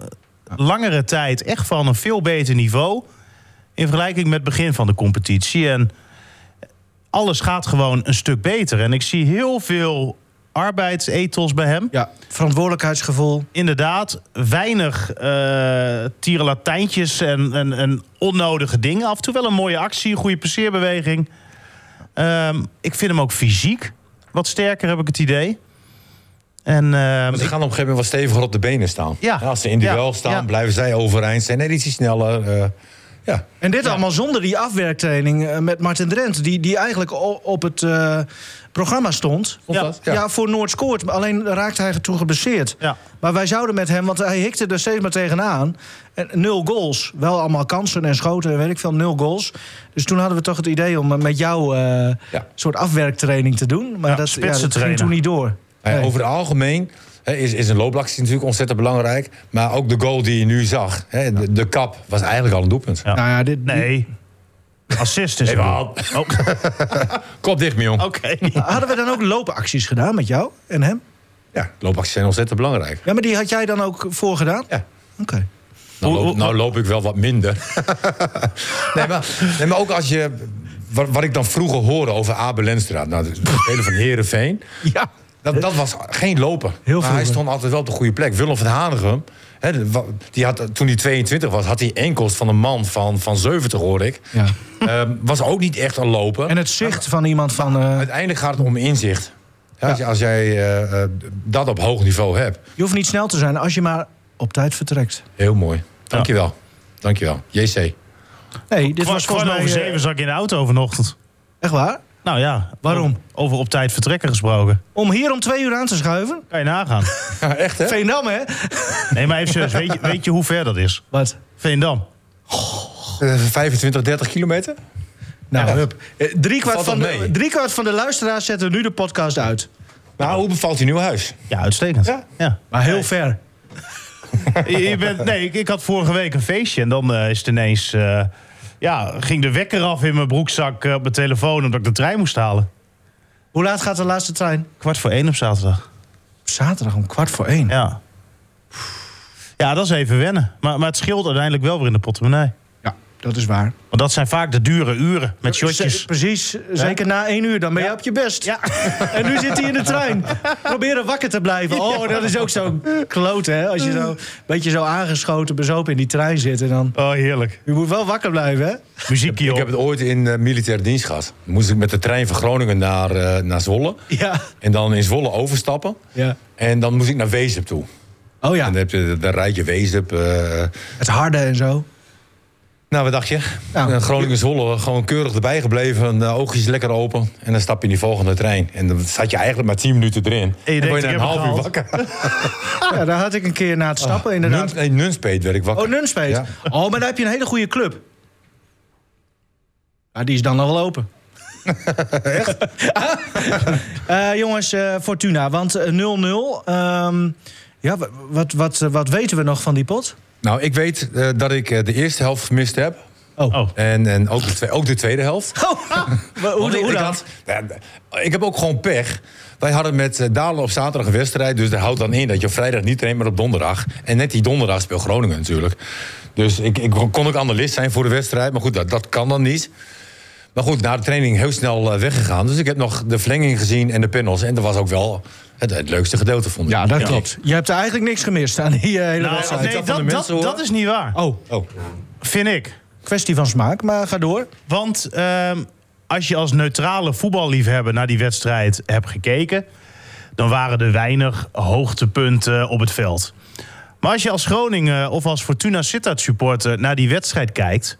Speaker 3: langere tijd echt van een veel beter niveau. In vergelijking met het begin van de competitie. En alles gaat gewoon een stuk beter. En ik zie heel veel arbeidsethos bij hem.
Speaker 2: Ja, verantwoordelijkheidsgevoel.
Speaker 3: Inderdaad, weinig eh tierenlatijntjes en, en, en onnodige dingen. Af en toe wel een mooie actie, goede passeerbeweging. Ehm, ik vind hem ook fysiek wat sterker, heb ik het idee. En ehm,
Speaker 4: Ze
Speaker 3: ik-
Speaker 4: gaan op een gegeven moment wat steviger op de benen staan.
Speaker 3: Ja.
Speaker 4: Als ze in duel
Speaker 3: Ja.
Speaker 4: staan,
Speaker 3: Ja.
Speaker 4: blijven zij overeind. Zijn net ietsje sneller. eh, ja.
Speaker 2: En dit allemaal zonder die afwerktraining eh, met Martin Drent, die, die eigenlijk o- op het eh, programma stond.
Speaker 4: Klopt
Speaker 3: Ja.
Speaker 4: dat?
Speaker 2: Ja. voor Noord scoort, maar alleen raakte hij toen geblesseerd.
Speaker 3: ja,
Speaker 2: Maar wij zouden met hem, want hij hikte er steeds maar tegenaan. En nul goals. Wel allemaal kansen en schoten en weet ik veel, nul goals. Dus toen hadden we toch het idee om eh, met jou eh,
Speaker 4: Ja.
Speaker 2: soort afwerktraining te doen. Maar dat, ja, dat ging
Speaker 3: spitsentrainer.
Speaker 2: toen niet door.
Speaker 4: Nou ja,
Speaker 2: Nee.
Speaker 4: Over het algemeen hè, is, is een loopactie natuurlijk ontzettend belangrijk. Maar ook de goal die je nu zag, hè, de, de kap, was eigenlijk al een doelpunt.
Speaker 3: Ja.
Speaker 2: Nou ja, dit,
Speaker 3: nee. Assist is
Speaker 4: Hey,
Speaker 3: het.
Speaker 4: man.
Speaker 3: Oh, Oké.
Speaker 4: Kop dicht, mijn jong.
Speaker 2: Hadden we dan ook loopacties gedaan met jou en hem?
Speaker 4: Ja, loopacties zijn ontzettend belangrijk.
Speaker 2: Ja, maar die had jij dan ook voorgedaan?
Speaker 4: Ja.
Speaker 2: Oké.
Speaker 4: Nou
Speaker 3: Hoe-
Speaker 4: loop,
Speaker 3: hoe-
Speaker 4: nou loop ik wel wat minder. nee, maar, nee, maar ook als je... Wat, wat ik dan vroeger hoorde over Abe Lenstra. Nou, de speler van Herenveen.
Speaker 2: Ja.
Speaker 4: Dat, dat was geen lopen.
Speaker 2: Heel
Speaker 4: maar hij
Speaker 2: vroeger.
Speaker 4: stond altijd wel op de goede plek. Willem van Hanegem, hè, de- wa- die had, toen hij 22 was, had hij enkels van een man van, van 70, hoor ik.
Speaker 2: ja.
Speaker 4: Ehm, was ook niet echt een lopen.
Speaker 2: En het zicht van iemand van... eh,
Speaker 4: Uiteindelijk gaat het om inzicht. Ja, als, je- als jij eh, eh, dat op hoog niveau hebt.
Speaker 2: je hoeft niet snel te zijn als je maar op tijd vertrekt.
Speaker 4: Heel mooi. Dankjewel. Dankjewel. JC.
Speaker 2: Nee, dit
Speaker 3: Kwart
Speaker 2: was
Speaker 3: kwart
Speaker 2: volgens mij...
Speaker 3: over
Speaker 2: eh,
Speaker 3: zeven zat ik in de auto vanochtend.
Speaker 2: echt waar?
Speaker 3: Nou ja.
Speaker 2: Waarom?
Speaker 3: Over op tijd vertrekken gesproken.
Speaker 2: Om hier om twee uur aan te schuiven?
Speaker 3: Kan je nagaan.
Speaker 4: Ja, echt hè?
Speaker 2: Veendam, hè?
Speaker 3: Nee, maar even serieus. Weet je, weet je hoe ver dat is?
Speaker 2: Wat?
Speaker 3: Veendam.
Speaker 4: Eh, 25, 30 kilometer?
Speaker 2: Nou,
Speaker 4: Ja.
Speaker 2: hup. Eh, Driekwart
Speaker 4: Valt
Speaker 2: van,
Speaker 4: wel
Speaker 2: de-
Speaker 4: mee.
Speaker 2: driekwart van de luisteraars zetten nu de podcast uit.
Speaker 4: Nou, hoe bevalt je nieuwe huis?
Speaker 3: Ja, uitstekend.
Speaker 4: Ja?
Speaker 3: ja.
Speaker 2: Maar heel ver.
Speaker 3: Je- Je bent, nee, ik, ik had vorige week een feestje en dan eh, is het ineens... eh, ja, ging de wekker af in mijn broekzak eh, op mijn telefoon... omdat ik de trein moest halen.
Speaker 2: Hoe laat gaat de laatste trein?
Speaker 3: Kwart voor één op zaterdag.
Speaker 2: Zaterdag om kwart voor één.
Speaker 3: Ja. Ja, dat is even wennen. Maar, maar het scheelt uiteindelijk wel weer in de portemonnee.
Speaker 2: dat is waar.
Speaker 3: Want dat zijn vaak de dure uren met shotjes.
Speaker 2: Ze- Precies, zeker na één uur, dan ben je op je best. En nu zit hij in de trein. Proberen wakker te blijven. Oh, dat is ook zo'n kloot, hè? Als je zo een beetje zo aangeschoten, bezopen in die trein zit. En dan,
Speaker 3: Oh, heerlijk.
Speaker 2: je moet wel wakker blijven, hè?
Speaker 3: Muziekje
Speaker 4: Ik heb
Speaker 3: op.
Speaker 4: het ooit in eh, militaire dienst gehad. Moest ik met de trein van Groningen naar, eh, naar Zwolle.
Speaker 2: Ja.
Speaker 4: En dan in Zwolle overstappen.
Speaker 2: ja.
Speaker 4: En dan moest ik naar Wezep toe.
Speaker 2: Oh ja,
Speaker 4: En dan, heb je, dan rijd je Wezep. eh,
Speaker 2: het harde en zo.
Speaker 4: nou, wat dacht je?
Speaker 2: Nou.
Speaker 4: Eh, Groningen-Zwolle, gewoon keurig erbij gebleven. de oogjes lekker open. En dan stap je in die volgende trein. En dan zat je eigenlijk maar 10 minuten erin.
Speaker 3: En je denkt,
Speaker 4: dan word je
Speaker 3: ik
Speaker 4: na een
Speaker 3: heb
Speaker 4: half
Speaker 3: het
Speaker 4: uur wakker.
Speaker 2: Ja, daar had ik een keer na het stappen, Oh, inderdaad.
Speaker 4: Nuns, nee, Nunspeet werd ik wakker.
Speaker 2: Oh, Nunspeet.
Speaker 4: Ja.
Speaker 2: Oh, maar daar heb je een hele goede club. Maar die is dan nog wel open. Echt? jongens, eh, Fortuna, want eh, 0-0. ehm, ja, wa- wat, wat, eh, wat weten we nog van die pot?
Speaker 4: Nou, ik weet eh, dat ik eh, de eerste helft gemist heb.
Speaker 2: Oh.
Speaker 3: Oh.
Speaker 4: En, en ook, de twee- ook de tweede helft.
Speaker 2: Maar Oh, hoe,
Speaker 4: Want ik-
Speaker 2: hoe
Speaker 4: ik,
Speaker 2: dan?
Speaker 4: had- nou ja, ik heb ook gewoon pech. Wij hadden met eh, Dalen op zaterdag een wedstrijd. Dus daar houdt dan in dat je op vrijdag niet traint, maar op donderdag. En net die donderdag speelt Groningen natuurlijk. Dus ik, ik kon ook analist zijn voor de wedstrijd. Maar goed, dat, dat kan dan niet. Maar goed, na de training heel snel eh, weggegaan. Dus ik heb nog de verlenging gezien en de panels. En dat was ook wel het, het leukste gedeelte, vond ik.
Speaker 2: Ja, dat
Speaker 4: Ja.
Speaker 2: klopt. Je hebt er eigenlijk niks gemist aan die eh, hele
Speaker 3: Nou,
Speaker 2: wedstrijd.
Speaker 3: nee,
Speaker 4: dat van de
Speaker 3: dat,
Speaker 4: mensen,
Speaker 3: dat,
Speaker 4: hoor.
Speaker 3: dat is niet waar.
Speaker 2: Oh,
Speaker 4: Oh,
Speaker 3: Vind ik.
Speaker 2: kwestie van smaak, maar ga door.
Speaker 3: Want ehm, als je als neutrale voetballiefhebber naar die wedstrijd hebt gekeken, dan waren er weinig hoogtepunten op het veld. Maar als je als Groningen of als Fortuna Sittard supporter naar die wedstrijd kijkt,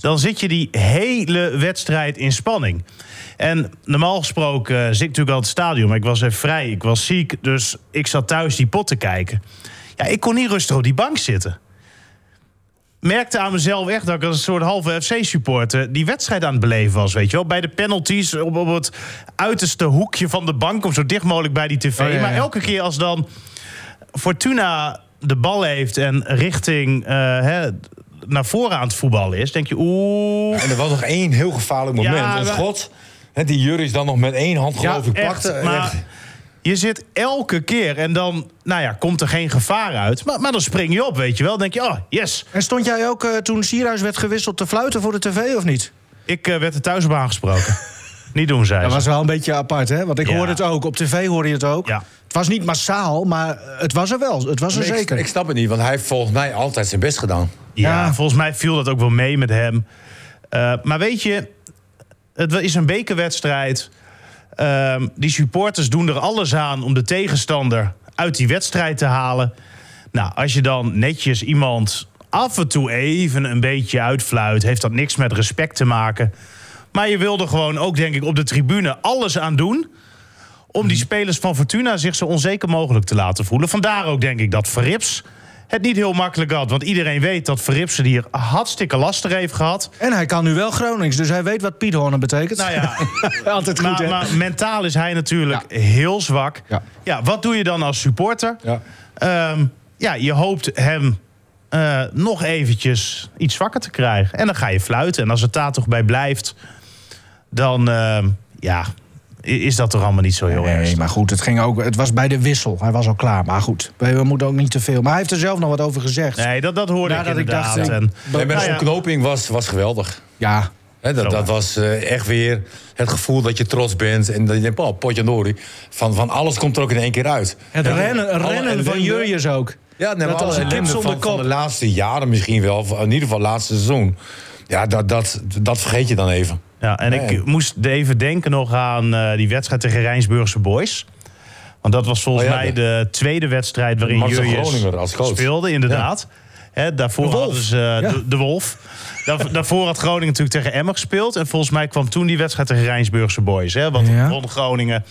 Speaker 3: dan zit je die hele wedstrijd in spanning. En normaal gesproken eh, zit ik natuurlijk al het stadion, maar ik was even vrij, ik was ziek, dus ik zat thuis die pot te kijken. Ja, ik kon niet rustig op die bank zitten merkte aan mezelf echt dat ik als een soort halve FC-supporter die wedstrijd aan het beleven was, weet je wel. Bij de penalties op, op het uiterste hoekje van de bank, om zo dicht mogelijk bij die tv.
Speaker 2: Oh, ja, ja.
Speaker 3: Maar elke keer als dan Fortuna de bal heeft en richting eh, hè, naar voren aan het voetballen is, denk je oeh.
Speaker 4: en er was nog één heel gevaarlijk moment.
Speaker 3: Ja,
Speaker 4: Ons
Speaker 3: maar-
Speaker 4: God, hè, die Juris dan nog met één hand geloof ik
Speaker 3: echt,
Speaker 4: pakte.
Speaker 3: maar
Speaker 4: Echt.
Speaker 3: je zit elke keer en dan, nou ja, komt er geen gevaar uit. Maar, maar dan spring je op, weet je wel. Dan denk je, oh, yes.
Speaker 2: En stond jij ook eh, toen Sierhuis werd gewisseld te fluiten voor de tv, of niet?
Speaker 3: Ik eh, werd er thuis op aangesproken. Niet doen, zei
Speaker 2: Dat
Speaker 3: ze.
Speaker 2: was wel een beetje apart, hè? Want ik
Speaker 3: Ja.
Speaker 2: hoorde het ook. Op tv hoorde je het ook.
Speaker 3: Ja.
Speaker 2: Het was niet massaal, maar het was er wel. Het was er
Speaker 4: Maar ik-
Speaker 2: zeker.
Speaker 4: Ik, snap het niet, want hij heeft volgens mij altijd zijn best gedaan.
Speaker 3: Ja,
Speaker 2: Ja.
Speaker 3: volgens mij viel dat ook wel mee met hem. Eh, maar weet je, het is een bekerwedstrijd. Ehm, die supporters doen er alles aan om de tegenstander uit die wedstrijd te halen. Nou, als je dan netjes iemand af en toe even een beetje uitfluit, heeft dat niks met respect te maken. Maar je wil er gewoon ook, denk ik, op de tribune alles aan doen. om die spelers van Fortuna zich zo onzeker mogelijk te laten voelen. Vandaar ook, denk ik, dat Verrips het niet heel makkelijk had. Want iedereen weet dat Verrips het hier hartstikke lastig heeft gehad.
Speaker 2: En hij kan nu wel Gronings, dus hij weet wat Piethornen betekent.
Speaker 3: Nou ja,
Speaker 2: Altijd goed,
Speaker 3: maar,
Speaker 2: hè?
Speaker 3: maar mentaal is hij natuurlijk heel zwak.
Speaker 2: Ja.
Speaker 3: Ja. wat doe je dan als supporter?
Speaker 4: Ja.
Speaker 3: Ehm, ja, je hoopt hem eh, nog eventjes iets zwakker te krijgen. En dan ga je fluiten. En als het daar toch bij blijft, dan ehm, ja, i- is dat toch allemaal niet zo heel erg.
Speaker 2: Nee, maar goed, het, ging ook, het was bij de wissel. Hij was al klaar, maar goed. We, we moeten ook niet te veel. Maar hij heeft er zelf nog wat over gezegd.
Speaker 3: Nee, dat, dat hoorde
Speaker 2: Nadat
Speaker 3: ik
Speaker 2: ik dacht,
Speaker 3: inderdaad.
Speaker 2: ik-
Speaker 3: en,
Speaker 4: En met
Speaker 3: Nou ja.
Speaker 4: ontknoping was, was geweldig.
Speaker 2: Ja,
Speaker 4: Hè, dat, dat was eh, echt weer het gevoel dat je trots bent. En dat je denkt, oh, potje nori. Van, van alles komt er ook in één keer uit.
Speaker 2: het rennen,
Speaker 4: alle
Speaker 2: rennen van
Speaker 4: ellende.
Speaker 2: Jurjes ook.
Speaker 4: Ja, nee, maar
Speaker 2: dat als
Speaker 4: alle
Speaker 2: een kip
Speaker 4: ellende
Speaker 2: zonder
Speaker 4: van, van
Speaker 2: kop.
Speaker 4: de laatste jaren misschien wel. of In ieder geval laatste seizoen. Ja, dat, dat, dat vergeet je dan even.
Speaker 3: Ja, en
Speaker 4: Nee.
Speaker 3: ik moest even denken nog aan eh, die wedstrijd tegen Rijnsburgse Boys. Want dat was volgens
Speaker 4: Oh ja,
Speaker 3: mij
Speaker 4: de-
Speaker 3: de tweede wedstrijd waarin
Speaker 4: Marcel
Speaker 3: Jurjes
Speaker 4: Groninger als coach.
Speaker 3: speelde, inderdaad. Hè, daarvoor
Speaker 2: Wolf.
Speaker 3: hadden ze eh,
Speaker 2: Ja.
Speaker 3: de, de Wolf. Daar- daarvoor had Groningen natuurlijk tegen Emmer gespeeld. En volgens mij kwam toen die wedstrijd tegen Rijnsburgse Boys. Hè, want
Speaker 2: Ja.
Speaker 3: rond Groningen,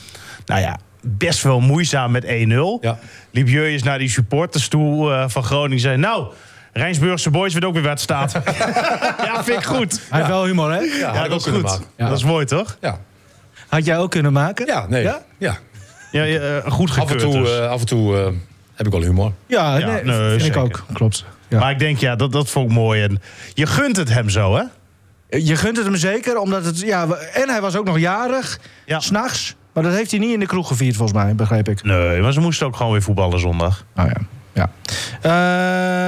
Speaker 3: nou ja, best wel moeizaam met 1-0.
Speaker 4: Ja.
Speaker 3: Liep Jurjes naar die supporters toe eh, van Groningen. Zei, nou, Rijnsburgse Boys werd ook weer wedstaat. ja, vind ik goed.
Speaker 2: Hij heeft wel humor, hè?
Speaker 4: Ja,
Speaker 3: Ja,
Speaker 4: had ik ook
Speaker 3: dat is
Speaker 4: kunnen
Speaker 3: goed.
Speaker 4: maken.
Speaker 2: Ja.
Speaker 3: Dat is mooi, toch?
Speaker 4: Ja,
Speaker 2: Had jij ook kunnen maken?
Speaker 4: ja nee.
Speaker 2: Ja?
Speaker 4: Ja?
Speaker 3: Ja, ja, eh, goed
Speaker 4: Af en
Speaker 3: gekeurd
Speaker 4: toe,
Speaker 3: dus.
Speaker 4: eh, af en toe eh, heb ik wel humor.
Speaker 2: Ja,
Speaker 3: Ja,
Speaker 2: nee,
Speaker 3: nee,
Speaker 2: vind ik
Speaker 3: zeker.
Speaker 2: ook. Klopt. Ja.
Speaker 3: Maar ik denk, ja, dat, dat vond ik mooi. En je gunt het hem zo, hè?
Speaker 2: Je gunt het hem zeker, omdat het... Ja, we- en hij was ook nog jarig,
Speaker 3: Ja.
Speaker 2: s'nachts. Maar dat heeft hij niet in de kroeg gevierd, volgens mij, begreep ik.
Speaker 3: Nee, maar ze moesten ook gewoon weer voetballen zondag.
Speaker 2: Nou ja, ja.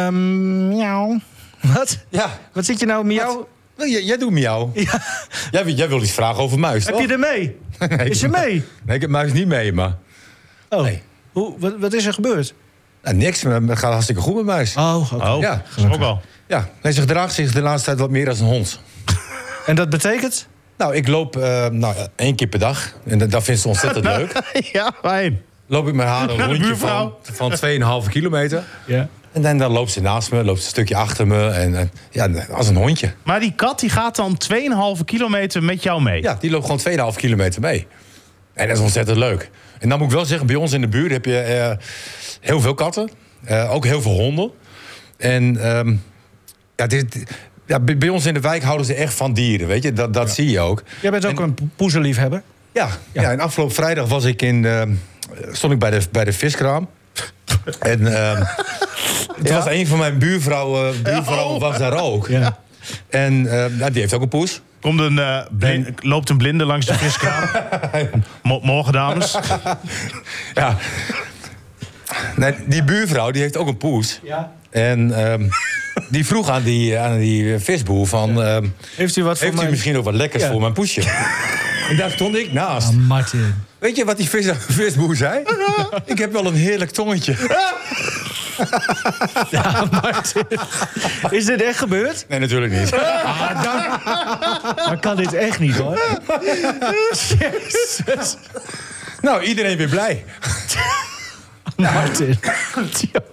Speaker 2: Ehm, miauw. Wat?
Speaker 4: Ja.
Speaker 2: Wat zit je nou met jou?
Speaker 4: Nou, jij, jij doet miauw. Jij, wil- jij wil iets vragen over muis,
Speaker 2: Heb
Speaker 4: toch?
Speaker 2: je er mee?
Speaker 4: Nee,
Speaker 2: Is er mee?
Speaker 4: Nee, ik heb muis niet mee, maar...
Speaker 2: Oh.
Speaker 4: Nee.
Speaker 2: Hoe, wat, wat is er gebeurd?
Speaker 4: Nou, niks, maar het gaat hartstikke goed met muis.
Speaker 2: Oh, oké.
Speaker 3: Oh,
Speaker 4: Ja,
Speaker 3: ja, ook al.
Speaker 4: Ja, hij gedraagt zich de laatste tijd wat meer als een hond.
Speaker 2: En dat betekent?
Speaker 4: Nou, ik loop eh, nou, één keer per dag. En dat, dat vindt ze ontzettend leuk.
Speaker 3: Nou, ja, fijn.
Speaker 4: Loop ik met haar een
Speaker 3: Naar de
Speaker 4: rondje van,
Speaker 3: buurvrouw.
Speaker 4: van 2,5 kilometer.
Speaker 2: Ja.
Speaker 4: En dan, dan loopt ze naast me, loopt ze een stukje achter me. En, en ja, als een hondje.
Speaker 3: Maar die kat die gaat dan 2,5 kilometer met jou mee.
Speaker 4: Ja, die loopt gewoon 2,5 kilometer mee. En dat is ontzettend leuk. En dan moet ik wel zeggen, bij ons in de buurt heb je eh, heel veel katten. eh, ook heel veel honden. En ehm, ja, dit, ja, bij, bij ons in de wijk houden ze echt van dieren, weet je. Dat, dat zie je ook.
Speaker 2: Jij bent ook een poezenliefhebber.
Speaker 4: Ja, ja. en afgelopen vrijdag was ik in, ehm, stond ik bij de, bij de viskraam. en ehm het was een van mijn buurvrouwen, buurvrouwen was daar ook.
Speaker 2: Ja.
Speaker 4: En ehm, nou, die heeft ook een poes.
Speaker 3: Komt een, eh, blin- loopt een blinde langs de viskraam. Mo- morgen, dames.
Speaker 4: Ja. Nee, die buurvrouw die heeft ook een poes.
Speaker 2: Ja.
Speaker 4: En ehm, die vroeg aan die, aan die visboer van... ehm,
Speaker 2: Heeft u wat voor
Speaker 4: heeft u
Speaker 2: mij?
Speaker 4: misschien ook wat lekkers
Speaker 2: Ja.
Speaker 4: voor mijn poesje? en daar stond ik naast.
Speaker 2: Ah, Martin.
Speaker 4: Weet je wat die vis, visboer zei? ik heb wel een heerlijk tongetje.
Speaker 2: Ah, Martin. Is dit echt gebeurd?
Speaker 4: Nee, natuurlijk niet.
Speaker 2: Maar kan dit echt niet hoor. Jezus.
Speaker 4: Nou, iedereen weer blij.
Speaker 2: Martin. Ja.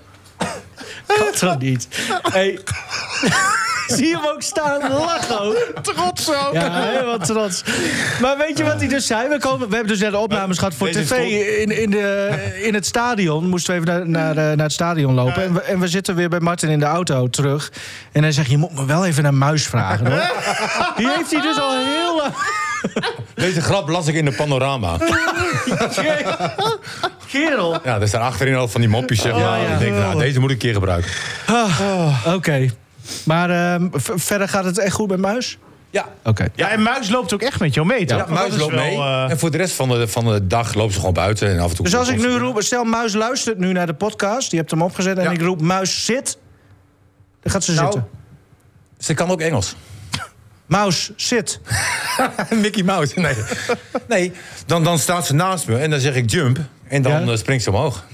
Speaker 2: Kan toch niet? Hey. Zie je hem ook staan lachen ook?
Speaker 3: Trots zo.
Speaker 2: Ja, helemaal trots. Maar weet je wat hij dus zei? We, komen, we hebben dus net de opnames gehad voor
Speaker 4: Deze is
Speaker 2: tv in, in, de, in het stadion. Moesten we even naar, naar, eh, naar het stadion lopen. En we, en we zitten weer bij Martin in de auto terug. En hij zegt, je moet me wel even naar Muis vragen. Hoor. Die heeft hij dus al heel lang...
Speaker 4: Deze grap las ik in de panorama.
Speaker 2: Kerel.
Speaker 4: Ja, er staan achterin al van die mopjes. Zeg maar.
Speaker 2: ja.
Speaker 4: Ik denk, nou, deze moet ik een keer gebruiken.
Speaker 2: Oké. Maar ehm, v- verder gaat het echt goed met Muis?
Speaker 4: Ja,
Speaker 2: Oké.
Speaker 3: Ja, en Muis loopt ook echt met jou mee, toch?
Speaker 4: ja
Speaker 3: Want dat
Speaker 4: muis
Speaker 3: is
Speaker 4: loopt
Speaker 3: wel,
Speaker 4: mee.
Speaker 3: eh,
Speaker 4: En voor de rest van de, van de dag loopt ze gewoon buiten. En af en toe
Speaker 2: Dus als ik nu roep, stel Muis luistert nu naar de podcast, die hebt hem opgezet, en
Speaker 4: Ja.
Speaker 2: ik roep Muis zit, dan gaat ze
Speaker 4: Nou.
Speaker 2: zitten.
Speaker 4: Ze kan ook Engels.
Speaker 2: Muis zit.
Speaker 4: Mickey Mouse. Nee, nee dan, dan staat ze naast me en dan zeg ik jump. En dan
Speaker 2: Ja?
Speaker 4: eh, springt ze omhoog.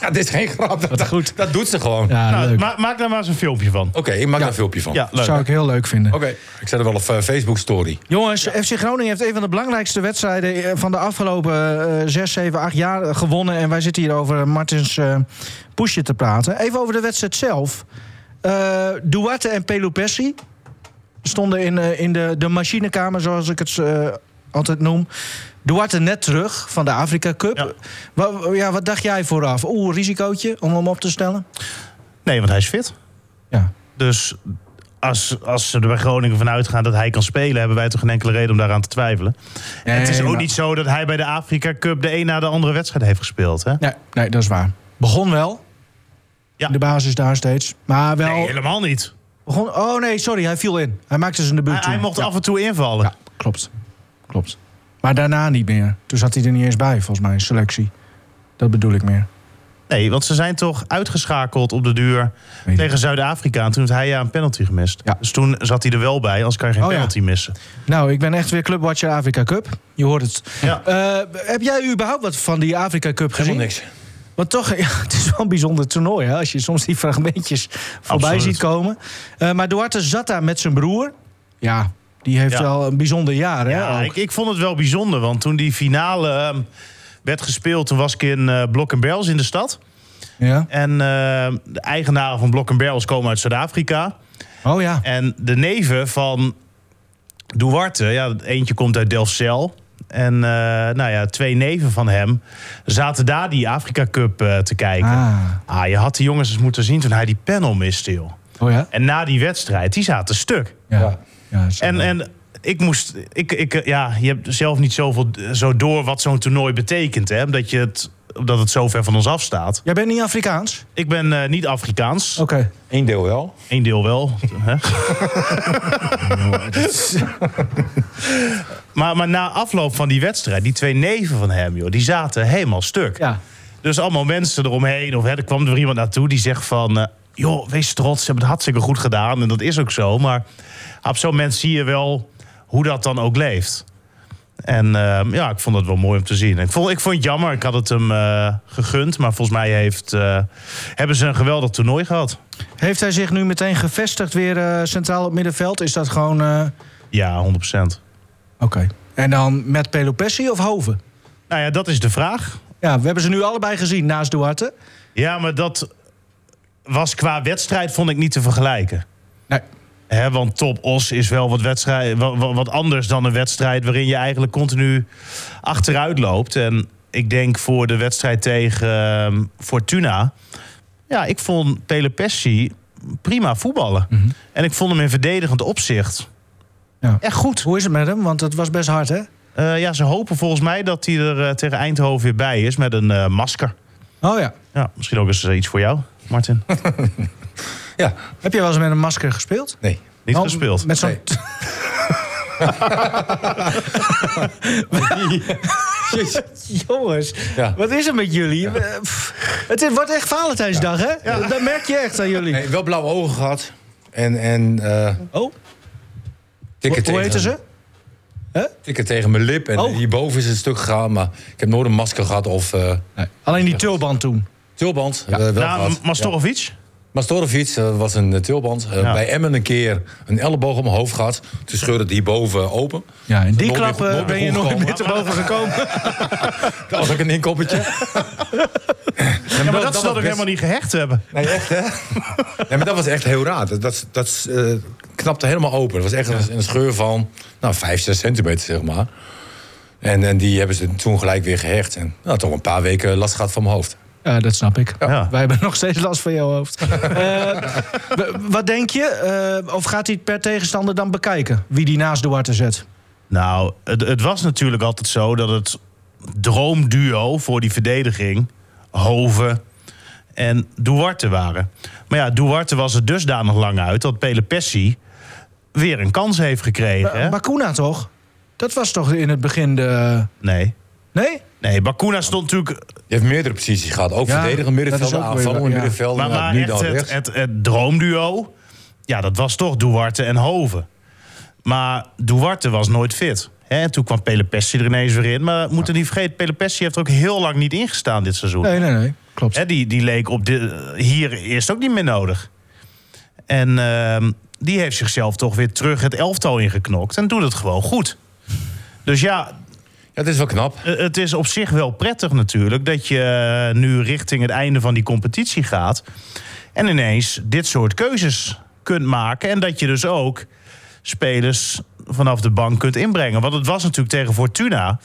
Speaker 4: ja, dit is geen grap. Dat, dat-
Speaker 2: goed.
Speaker 4: dat doet ze gewoon.
Speaker 2: Ja,
Speaker 3: nou,
Speaker 2: leuk.
Speaker 3: ma- maak daar maar eens een filmpje van.
Speaker 4: Oké, ik maak daar een filmpje van.
Speaker 3: Ja, leuk.
Speaker 2: Zou ik heel leuk vinden.
Speaker 4: Oké, ik zet er wel op eh, Facebook story.
Speaker 2: Jongens, FC Groningen heeft een van de belangrijkste wedstrijden eh, van de afgelopen eh, zes, zeven, acht jaar eh, gewonnen. En wij zitten hier over Martins eh poesje te praten. Even over de wedstrijd zelf. Eh, Duarte en Pelupessi stonden in, eh, in de, de machinekamer, zoals ik het eh, altijd noem. Duarte net terug van de Afrika Cup.
Speaker 3: Ja.
Speaker 2: Wa- wa- ja, wat dacht jij vooraf? Oeh, risicootje om hem op te stellen?
Speaker 3: Nee, want hij is fit.
Speaker 2: Ja.
Speaker 3: Dus als, als ze er bij Groningen van uitgaan dat hij kan spelen... hebben wij toch geen enkele reden om daaraan te twijfelen. En het is ook
Speaker 2: maar-
Speaker 3: niet zo dat hij bij de Afrika Cup... de een na de andere wedstrijd heeft gespeeld, hè?
Speaker 2: Nee, nee, dat is waar. Begon wel.
Speaker 3: Ja.
Speaker 2: De basis daar steeds. Maar wel...
Speaker 3: Nee, helemaal niet.
Speaker 2: Begon, oh nee, sorry, hij viel in. Hij maakte zijn debuut
Speaker 3: Hij,
Speaker 2: toen.
Speaker 3: hij mocht
Speaker 2: ja.
Speaker 3: af en toe invallen.
Speaker 2: Ja, klopt. klopt. Maar daarna niet meer. Toen zat hij er niet eens bij, volgens mij, in selectie. Dat bedoel ik meer.
Speaker 3: Nee, want ze zijn toch uitgeschakeld op de duur
Speaker 2: niet.
Speaker 3: tegen Zuid-Afrika. En toen heeft hij ja een penalty gemist.
Speaker 2: Ja.
Speaker 3: Dus toen zat hij er wel bij, anders kan je geen
Speaker 2: Oh ja.
Speaker 3: penalty missen.
Speaker 2: Nou, ik ben echt weer Clubwatcher Afrika Cup. Je hoort het.
Speaker 3: Ja.
Speaker 2: Eh, heb jij überhaupt wat van die Afrika Cup gezien?
Speaker 4: Helemaal niks.
Speaker 2: Want toch, ja, het is wel een bijzonder toernooi. Hè, als je soms die fragmentjes voorbij
Speaker 3: Absoluut.
Speaker 2: ziet komen. Eh, maar Duarte zat daar met zijn broer. Ja, die heeft
Speaker 3: Ja.
Speaker 2: wel een bijzonder jaar. Hè,
Speaker 3: Ja,
Speaker 2: ook.
Speaker 3: ik, ik vond het wel bijzonder, want toen die finale ehm, werd gespeeld... toen was ik in eh, Blok en Bels in de stad.
Speaker 2: ja.
Speaker 3: En eh, de eigenaren van Blok en Barrels komen uit Zuid-Afrika.
Speaker 2: Oh ja.
Speaker 3: En de neven van Duarte, ja, eentje komt uit Delfzijl. En eh, nou ja, twee neven van hem zaten daar die Afrika Cup eh, te kijken. Ah.
Speaker 2: Ah.
Speaker 3: je had die jongens eens moeten zien toen hij die panel miste, joh.
Speaker 2: Oh ja?
Speaker 3: En na die wedstrijd, die zaten stuk.
Speaker 2: Ja.
Speaker 4: Ja.
Speaker 2: ja zo.
Speaker 3: En, en ik moest. Ik, ik, eh, ja, je hebt zelf niet zoveel eh, zo door wat zo'n toernooi betekent. Hè? Omdat, je het, omdat het zo ver van ons afstaat.
Speaker 2: Jij bent niet Afrikaans?
Speaker 3: Ik ben eh, niet Afrikaans.
Speaker 2: Oké.
Speaker 4: Eén deel wel.
Speaker 3: Eén deel wel. hè? maar, maar na afloop van die wedstrijd, die twee neven van hem, joh, die zaten helemaal stuk.
Speaker 2: Ja.
Speaker 3: Dus allemaal mensen eromheen. Of hè, er kwam er iemand naartoe die zegt van... eh, joh, wees trots, ze hebben het hartstikke goed gedaan. En dat is ook zo. Maar op zo'n moment zie je wel hoe dat dan ook leeft. En ehm, ja, ik vond het wel mooi om te zien. Ik vond, ik vond het jammer, ik had het hem eh, gegund. Maar volgens mij heeft, eh, hebben ze een geweldig toernooi gehad.
Speaker 2: Heeft hij zich nu meteen gevestigd weer eh, centraal op middenveld? Is dat gewoon... eh,
Speaker 3: Ja, 100%.
Speaker 2: Oké. En dan met Pelopessi of Hoven?
Speaker 3: Nou ja, dat is de vraag.
Speaker 2: Ja, we hebben ze nu allebei gezien naast Duarte.
Speaker 3: Ja, maar dat was qua wedstrijd vond ik niet te vergelijken.
Speaker 2: Nee.
Speaker 3: Hè, want Top Os is wel wat, wedstrijd, wa- wa- wat, anders dan een wedstrijd waarin je eigenlijk continu achteruit loopt. En ik denk voor de wedstrijd tegen ehm, Fortuna. Ja, ik vond Pelopessi prima voetballen. En ik vond hem in verdedigend opzicht
Speaker 2: Ja.
Speaker 3: echt goed.
Speaker 2: Hoe is het met hem? Want het was best hard, hè?
Speaker 3: Eh, ja, ze hopen volgens mij dat hij er eh, tegen Eindhoven weer bij is met een eh, masker.
Speaker 2: Oh ja.
Speaker 3: Ja, misschien ook eens eh, iets voor jou, Martin.
Speaker 4: Ja,
Speaker 2: Heb je wel eens met een masker gespeeld?
Speaker 4: nee.
Speaker 3: Niet
Speaker 2: Oh,
Speaker 3: gespeeld.
Speaker 2: Met zo'n...
Speaker 4: Nee.
Speaker 2: Jongens,
Speaker 4: Ja.
Speaker 2: wat is er met jullie? Eh, pff, Het is- wordt echt Valentijnsdag, hè? Dat merk je echt aan jullie.
Speaker 4: Nee, wel blauwe ogen gehad. En, en eh,
Speaker 2: Oh,
Speaker 4: tikken
Speaker 2: hoe
Speaker 4: tegen-
Speaker 2: heten ze?
Speaker 4: Tikken tegen mijn lip. En
Speaker 2: Oh.
Speaker 4: hierboven is het stuk gegaan. Maar ik heb nooit een masker gehad of eh
Speaker 2: Alleen die tulband toen.
Speaker 4: tulband. eh, wel
Speaker 3: Nou,
Speaker 4: gehad.
Speaker 3: Mastorovic?
Speaker 4: Mastorovic eh, was een eh, tulband. Eh,
Speaker 3: Ja.
Speaker 4: Bij Emmen een keer een elleboog op mijn hoofd gehad. Toen scheurde het hierboven open.
Speaker 2: Ja, en die
Speaker 4: Nooit meer-
Speaker 2: klap eh,
Speaker 4: nooit meer
Speaker 2: ben je nooit
Speaker 4: omgekomen.
Speaker 2: meer te boven gekomen.
Speaker 4: Dat was ook een inkoppertje.
Speaker 3: Ja, maar dat ze dat ook helemaal niet gehecht hebben.
Speaker 4: Nee, echt hè? nee, maar dat was echt heel raar. Dat, dat, dat eh, knapte helemaal open. Het was echt een, een scheur van nou, 5, 6 centimeter, zeg maar. En, en die hebben ze toen gelijk weer gehecht. En nou, toch een paar weken last gehad van mijn hoofd.
Speaker 2: Ja, dat snap ik.
Speaker 3: Ja.
Speaker 2: Wij hebben nog steeds last van jouw hoofd. Eh, w- wat denk je? Eh, of gaat hij het per tegenstander dan bekijken? Wie die naast Duarte zet?
Speaker 3: Nou, het, het was natuurlijk altijd zo dat het droomduo voor die verdediging... Hoven en Duarte waren. Maar ja, Duarte was er dusdanig lang uit dat Pelepessi weer een kans heeft gekregen. hè?
Speaker 2: Eh, Bakuna toch? Dat was toch in het begin de...
Speaker 3: Nee.
Speaker 2: Nee?
Speaker 3: Nee, Bakuna stond natuurlijk...
Speaker 4: Je hebt meerdere posities gehad. Ook
Speaker 2: Ja,
Speaker 4: verdedigen, middenvelden,
Speaker 2: dat is ook weer-
Speaker 4: aanvallen,
Speaker 2: ja.
Speaker 4: middenvelden.
Speaker 3: Maar,
Speaker 4: nou,
Speaker 3: maar
Speaker 4: nu
Speaker 3: echt
Speaker 4: dan
Speaker 3: het,
Speaker 4: rechts.
Speaker 3: het, het droomduo, ja, dat was toch Duarte en Hoven. Maar Duarte was nooit fit. Hè? En toen kwam Pelepessi er ineens weer in. Maar we moeten niet vergeten, Pelepessi heeft er ook heel lang niet ingestaan dit seizoen.
Speaker 2: Nee, nee, nee. Klopt.
Speaker 3: Hè, die, die leek op de, hier eerst ook niet meer nodig. En ehm, die heeft zichzelf toch weer terug het elftal ingeknokt. En doet het gewoon goed. Dus ja,
Speaker 4: Ja, het is wel knap.
Speaker 3: eh, het is op zich wel prettig natuurlijk dat je eh, nu richting het einde van die competitie gaat. En ineens dit soort keuzes kunt maken. En dat je dus ook spelers vanaf de bank kunt inbrengen. Want het was natuurlijk tegen Fortuna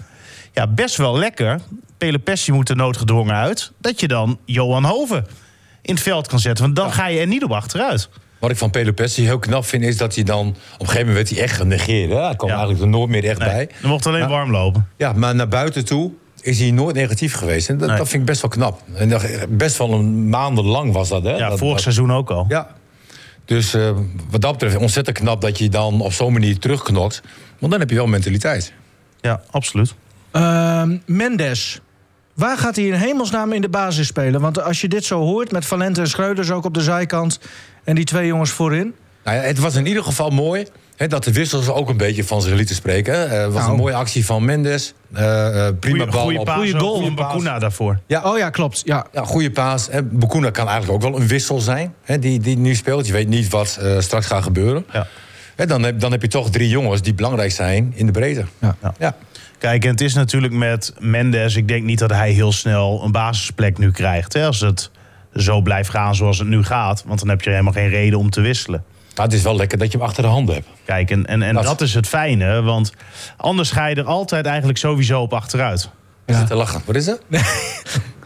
Speaker 3: ja, best wel lekker. Pelepessi moet er noodgedwongen uit. Dat je dan Johan Hoven in het veld kan zetten. Want dan ga je er niet op achteruit.
Speaker 4: Wat ik van Pelopessi heel knap vind, is dat hij dan... Op een gegeven moment werd hij echt genegeerd. Hè? Hij kwam
Speaker 3: Ja.
Speaker 4: eigenlijk er nooit meer echt
Speaker 3: Nee,
Speaker 4: bij.
Speaker 3: dan mocht alleen warm lopen.
Speaker 4: Ja, maar naar buiten toe is hij nooit negatief geweest. En dat,
Speaker 3: Nee.
Speaker 4: dat vind ik best wel knap. En dat, best wel een maanden lang was dat. Hè?
Speaker 3: Ja,
Speaker 4: dat,
Speaker 3: vorig
Speaker 4: dat-
Speaker 3: seizoen ook al.
Speaker 4: Ja. Dus eh, wat dat betreft ontzettend knap dat je dan op zo'n manier terugknokt. Want dan heb je wel mentaliteit.
Speaker 3: ja absoluut.
Speaker 2: Ehm, Mendes. Waar gaat hij in hemelsnaam in de basis spelen? Want als je dit zo hoort, met Valente en Schreuders ook op de zijkant... en die twee jongens voorin.
Speaker 4: Nou ja, het was in ieder geval mooi hè, dat de wissels ook een beetje van zich lieten spreken. hè. Eh, Het was
Speaker 2: Nou.
Speaker 4: een mooie actie van Mendes. Eh, eh, prima
Speaker 3: Goeie,
Speaker 4: bal
Speaker 3: goeie
Speaker 4: op.
Speaker 3: paas
Speaker 2: goeie
Speaker 3: ook
Speaker 2: goal.
Speaker 3: van Bakuna daarvoor.
Speaker 4: Ja.
Speaker 2: Oh ja, klopt. Ja.
Speaker 4: Ja, goede paas. Hè, Bakuna kan eigenlijk ook wel een wissel zijn hè, die, die nu speelt. Je weet niet wat eh, straks gaat gebeuren.
Speaker 3: Ja.
Speaker 4: Hè, dan, heb, dan heb je toch drie jongens die belangrijk zijn in de breedte.
Speaker 2: Ja.
Speaker 3: Ja.
Speaker 4: Ja.
Speaker 3: Kijk, en het is natuurlijk met Mendes. Ik denk niet dat hij heel snel een basisplek nu krijgt. Hè? Als het zo blijft gaan zoals het nu gaat. Want dan heb je helemaal geen reden om te wisselen.
Speaker 4: Maar het is wel lekker dat je hem achter de handen hebt.
Speaker 3: Kijk, en, en, en
Speaker 4: Dat-
Speaker 3: dat is het fijne. Want anders ga je er altijd eigenlijk sowieso op achteruit.
Speaker 4: Is het te lachen? Wat is dat?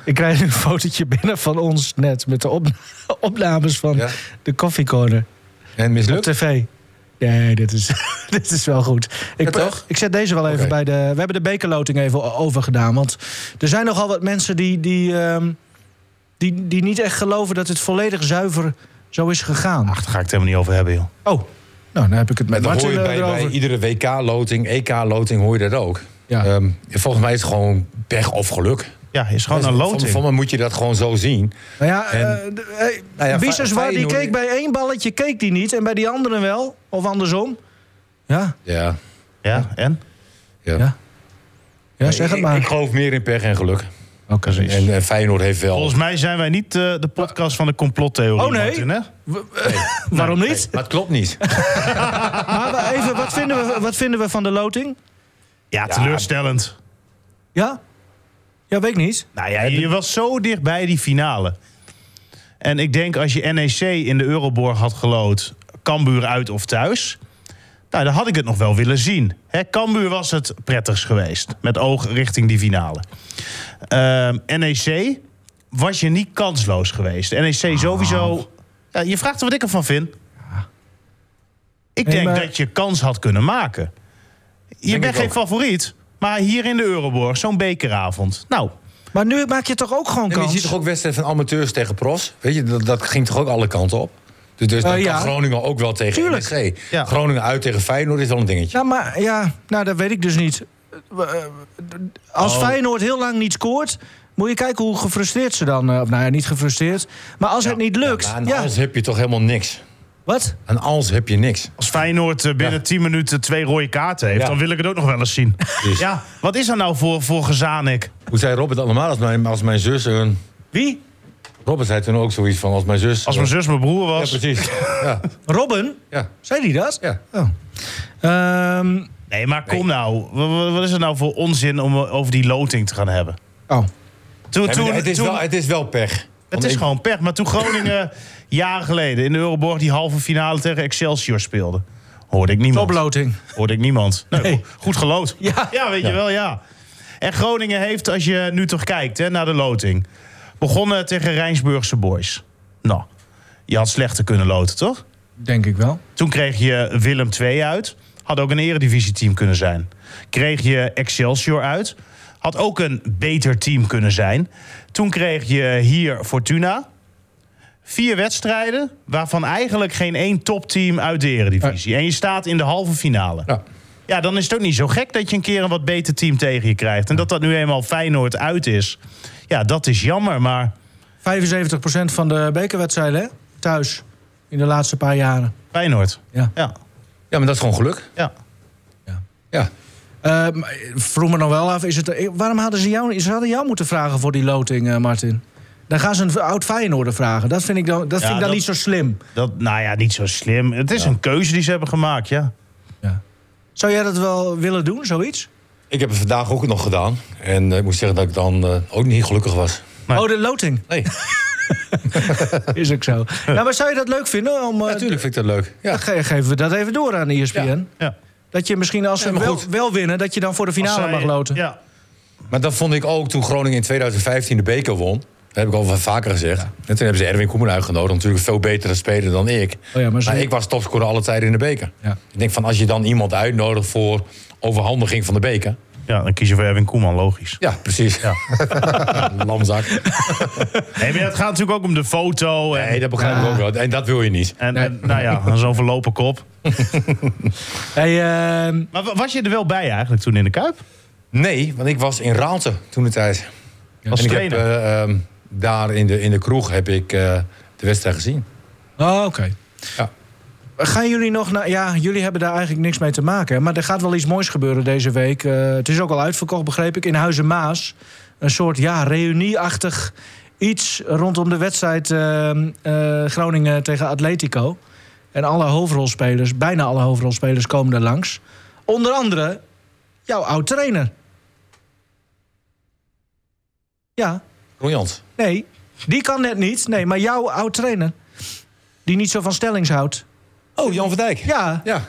Speaker 2: Ik krijg een fotootje binnen van ons net... met de op- opnames van
Speaker 4: Ja.
Speaker 2: de koffiecorner
Speaker 4: En
Speaker 2: op
Speaker 4: mislukt?
Speaker 2: tv. Nee, dit is, dit is wel goed. Ik,
Speaker 4: Ja, toch?
Speaker 2: ik zet deze wel even
Speaker 4: Oké.
Speaker 2: bij de... We hebben de bekerloting even o- overgedaan. Want er zijn nogal wat mensen die, die, ehm, die, die niet echt geloven... dat het volledig zuiver zo is gegaan.
Speaker 3: Ach, daar ga ik het helemaal niet over hebben, joh.
Speaker 2: Oh, nou, dan heb ik het met
Speaker 4: En dan
Speaker 2: Martin
Speaker 4: hoor je
Speaker 2: eh,
Speaker 4: bij, bij
Speaker 2: erover.
Speaker 4: iedere WK-loting, EK-loting hoor je dat ook.
Speaker 2: Ja.
Speaker 4: Ehm, volgens mij is het gewoon pech of geluk.
Speaker 3: Ja, is gewoon een
Speaker 4: Van, van
Speaker 3: loting.
Speaker 4: me moet je dat gewoon zo zien.
Speaker 2: Nou ja,
Speaker 4: En-
Speaker 2: eh, d- hey,
Speaker 4: Nou ja,
Speaker 2: Biseswar, die
Speaker 4: Feyenoord-
Speaker 2: keek bij één balletje keek die niet en bij die anderen wel. Of andersom. Ja,
Speaker 4: Ja,
Speaker 3: Ja, en?
Speaker 4: ja.
Speaker 2: Ja, ja zeg het
Speaker 4: Ik-
Speaker 2: maar.
Speaker 4: Ik, geloof meer in pech en geluk.
Speaker 2: Oké.
Speaker 4: En, en Feyenoord heeft wel...
Speaker 3: Volgens mij zijn wij niet eh, de podcast van de complottheorie.
Speaker 2: Oh, nee.
Speaker 3: Martin, hè?
Speaker 2: Waarom niet?
Speaker 4: Maar het klopt niet.
Speaker 2: Maar we- even, wat vinden, we, wat vinden we van de loting?
Speaker 3: Ja, teleurstellend.
Speaker 2: Ja? Ja, weet ik niet.
Speaker 3: Nou ja, je was zo dichtbij die finale. En ik denk als je NEC in de Euroborg had gelood, Cambuur uit of thuis. Nou, dan had ik het nog wel willen zien. Hè, Cambuur was het prettigst geweest. Met oog richting die finale. Ehm, NEC was je niet kansloos geweest. NEC sowieso... Ja, je vraagt er wat ik ervan vind. Ik
Speaker 2: Nee,
Speaker 3: denk
Speaker 2: maar-
Speaker 3: dat je kans had kunnen maken. Je bent
Speaker 4: ik
Speaker 3: geen
Speaker 4: ook.
Speaker 3: favoriet. Maar hier in de Euroborg, zo'n bekeravond. Nou,
Speaker 2: Maar nu maak je toch ook gewoon
Speaker 4: En je
Speaker 2: kans?
Speaker 4: ziet toch ook wedstrijden van amateurs tegen pros? Weet je, dat, dat ging toch ook alle kanten op? Dus, dus dan
Speaker 2: Eh, ja.
Speaker 4: kan Groningen ook wel tegen
Speaker 2: Tuurlijk.
Speaker 4: NEC.
Speaker 3: Ja.
Speaker 4: Groningen uit tegen Feyenoord is wel een dingetje.
Speaker 2: Nou, maar ja, nou, dat weet ik dus niet. Eh, eh, Als
Speaker 3: Oh.
Speaker 2: Feyenoord heel lang niet scoort, moet je kijken hoe gefrustreerd ze dan... eh, of nou ja, niet gefrustreerd. Maar als het niet lukt...
Speaker 4: Maar
Speaker 2: Ja,
Speaker 4: aan alles heb je toch helemaal niks?
Speaker 2: Wat?
Speaker 4: Aan alles heb je niks.
Speaker 3: Als Feyenoord eh, binnen
Speaker 4: Ja.
Speaker 3: 10 minuten twee rode kaarten heeft,
Speaker 4: Ja.
Speaker 3: dan wil ik het ook nog wel eens zien.
Speaker 4: Dus-
Speaker 3: Ja, wat is er nou voor, voor Gezanik?
Speaker 4: Hoe zei Robert allemaal als mijn, als mijn zus... Een,
Speaker 2: Wie?
Speaker 4: Robert zei toen ook zoiets van als mijn zus...
Speaker 3: Als mijn zus mijn broer was.
Speaker 4: Ja, precies. ja,
Speaker 2: Robin?
Speaker 4: ja,
Speaker 2: Zei die dat?
Speaker 4: ja.
Speaker 2: Oh. Ehm,
Speaker 3: nee, maar kom nou. Wa- wa- Wat, is er nou voor onzin om eh, over die loting te gaan hebben?
Speaker 2: oh.
Speaker 3: Toen,
Speaker 4: Ja,
Speaker 3: toen,
Speaker 4: maar het, is
Speaker 3: toen-
Speaker 4: wel, het is wel pech.
Speaker 3: het is gewoon pech. Maar toen Groningen jaren geleden in de Euroborg die halve finale tegen Excelsior speelde, hoorde ik niemand.
Speaker 2: Toploting.
Speaker 3: Hoorde ik niemand. Nee,
Speaker 2: Nee.
Speaker 3: Goed geloot.
Speaker 2: Ja.
Speaker 3: weet je wel, ja. En Groningen heeft, als je nu toch kijkt hè, naar de loting... begonnen tegen Rijnsburgse boys. Nou, je had slechter kunnen loten, toch?
Speaker 2: Denk ik wel.
Speaker 3: Toen kreeg je Willem II uit. Had ook een eredivisieteam kunnen zijn. Kreeg je Excelsior uit. Had ook een beter team kunnen zijn. Toen kreeg je hier Fortuna. Vier wedstrijden, waarvan eigenlijk geen één topteam uit de eredivisie. En je staat in de halve finale.
Speaker 4: Ja.
Speaker 3: Ja, dan is het ook niet zo gek dat je een keer een wat beter team tegen je krijgt. En dat dat nu eenmaal Feyenoord uit is. Ja, dat is jammer, maar
Speaker 2: 75% van de bekerwedstrijden, hè? Thuis. In de laatste paar jaren.
Speaker 3: Feyenoord.
Speaker 2: Ja.
Speaker 3: Ja.
Speaker 4: ja, maar dat is gewoon geluk.
Speaker 3: ja.
Speaker 4: Ja.
Speaker 2: Eh, maar ik vroeg me nog wel af, is het, eh, waarom hadden ze jou, ze hadden jou moeten vragen voor die loting, eh, Martin? Dan gaan ze een v- oud Feyenoorder vragen. Dat vind ik dan, dat vind ik dan
Speaker 3: dat-
Speaker 2: niet zo slim.
Speaker 3: Dat, nou ja, niet zo slim. Het is een keuze die ze hebben gemaakt, ja.
Speaker 2: Zou jij dat wel willen doen, zoiets?
Speaker 4: Ik heb het vandaag ook nog gedaan. En eh, ik moet zeggen dat ik dan eh, ook niet gelukkig was.
Speaker 3: Nee.
Speaker 2: Oh, de loting.
Speaker 4: Nee,
Speaker 2: Is ook zo. nou, maar zou je dat leuk vinden? Om, eh,
Speaker 4: natuurlijk vind ik dat leuk. Ja.
Speaker 2: Dan ge- geven we dat even door aan E ESPN.
Speaker 3: ja.
Speaker 2: Dat je misschien als ze
Speaker 4: maar
Speaker 2: wel,
Speaker 4: goed.
Speaker 2: wel winnen, dat je dan voor de finale
Speaker 3: Als zij-
Speaker 2: mag loten.
Speaker 3: Ja.
Speaker 4: Maar dat vond ik ook toen Groningen in 2015 de beker won. Dat heb ik al wel vaker gezegd. En toen hebben ze Erwin Koeman uitgenodigd. Natuurlijk een veel betere speler dan ik.
Speaker 2: Oh ja, maar
Speaker 4: maar
Speaker 2: ze-
Speaker 4: ik was topscorer alle tijden in de beker.
Speaker 2: Ja.
Speaker 4: Ik denk van als je dan iemand uitnodigt voor overhandiging van de beker.
Speaker 3: ja, dan kies je voor Erwin Koeman, logisch.
Speaker 4: Ja, precies. Lamzak.
Speaker 3: Nee, maar het gaat natuurlijk ook om de foto. En,
Speaker 4: Nee, dat begrijp ik ook wel. En dat wil je niet.
Speaker 3: en, en, nou ja, zo'n verlopen kop.
Speaker 2: Hey, ehm,
Speaker 3: Maar wa- was je er wel bij eigenlijk toen in de Kuip?
Speaker 4: Nee, want ik was in Raalte toen de tijd.
Speaker 3: Als
Speaker 4: en ik heb
Speaker 3: trainer?
Speaker 4: eh, ehm, daar in de, in de kroeg heb ik eh, de wedstrijd gezien.
Speaker 2: Oh, oké.
Speaker 4: Ja.
Speaker 2: Gaan jullie nog naar... Ja, jullie hebben daar eigenlijk niks mee te maken. hè, Maar er gaat wel iets moois gebeuren deze week. Eh, het is ook al uitverkocht, begreep ik, in Huizen Maas. Een soort, ja, reunieachtig iets rondom de wedstrijd eh, eh, Groningen tegen Atletico. En alle hoofdrolspelers, bijna alle hoofdrolspelers komen er langs. Onder andere jouw oud-trainer. Ja,
Speaker 4: Briljant.
Speaker 2: Nee, die kan net niet. Nee, maar jouw oud-trainer, die niet zo van stellings houdt.
Speaker 4: Oh, Jan van Dijk.
Speaker 2: Ja,
Speaker 4: Ja.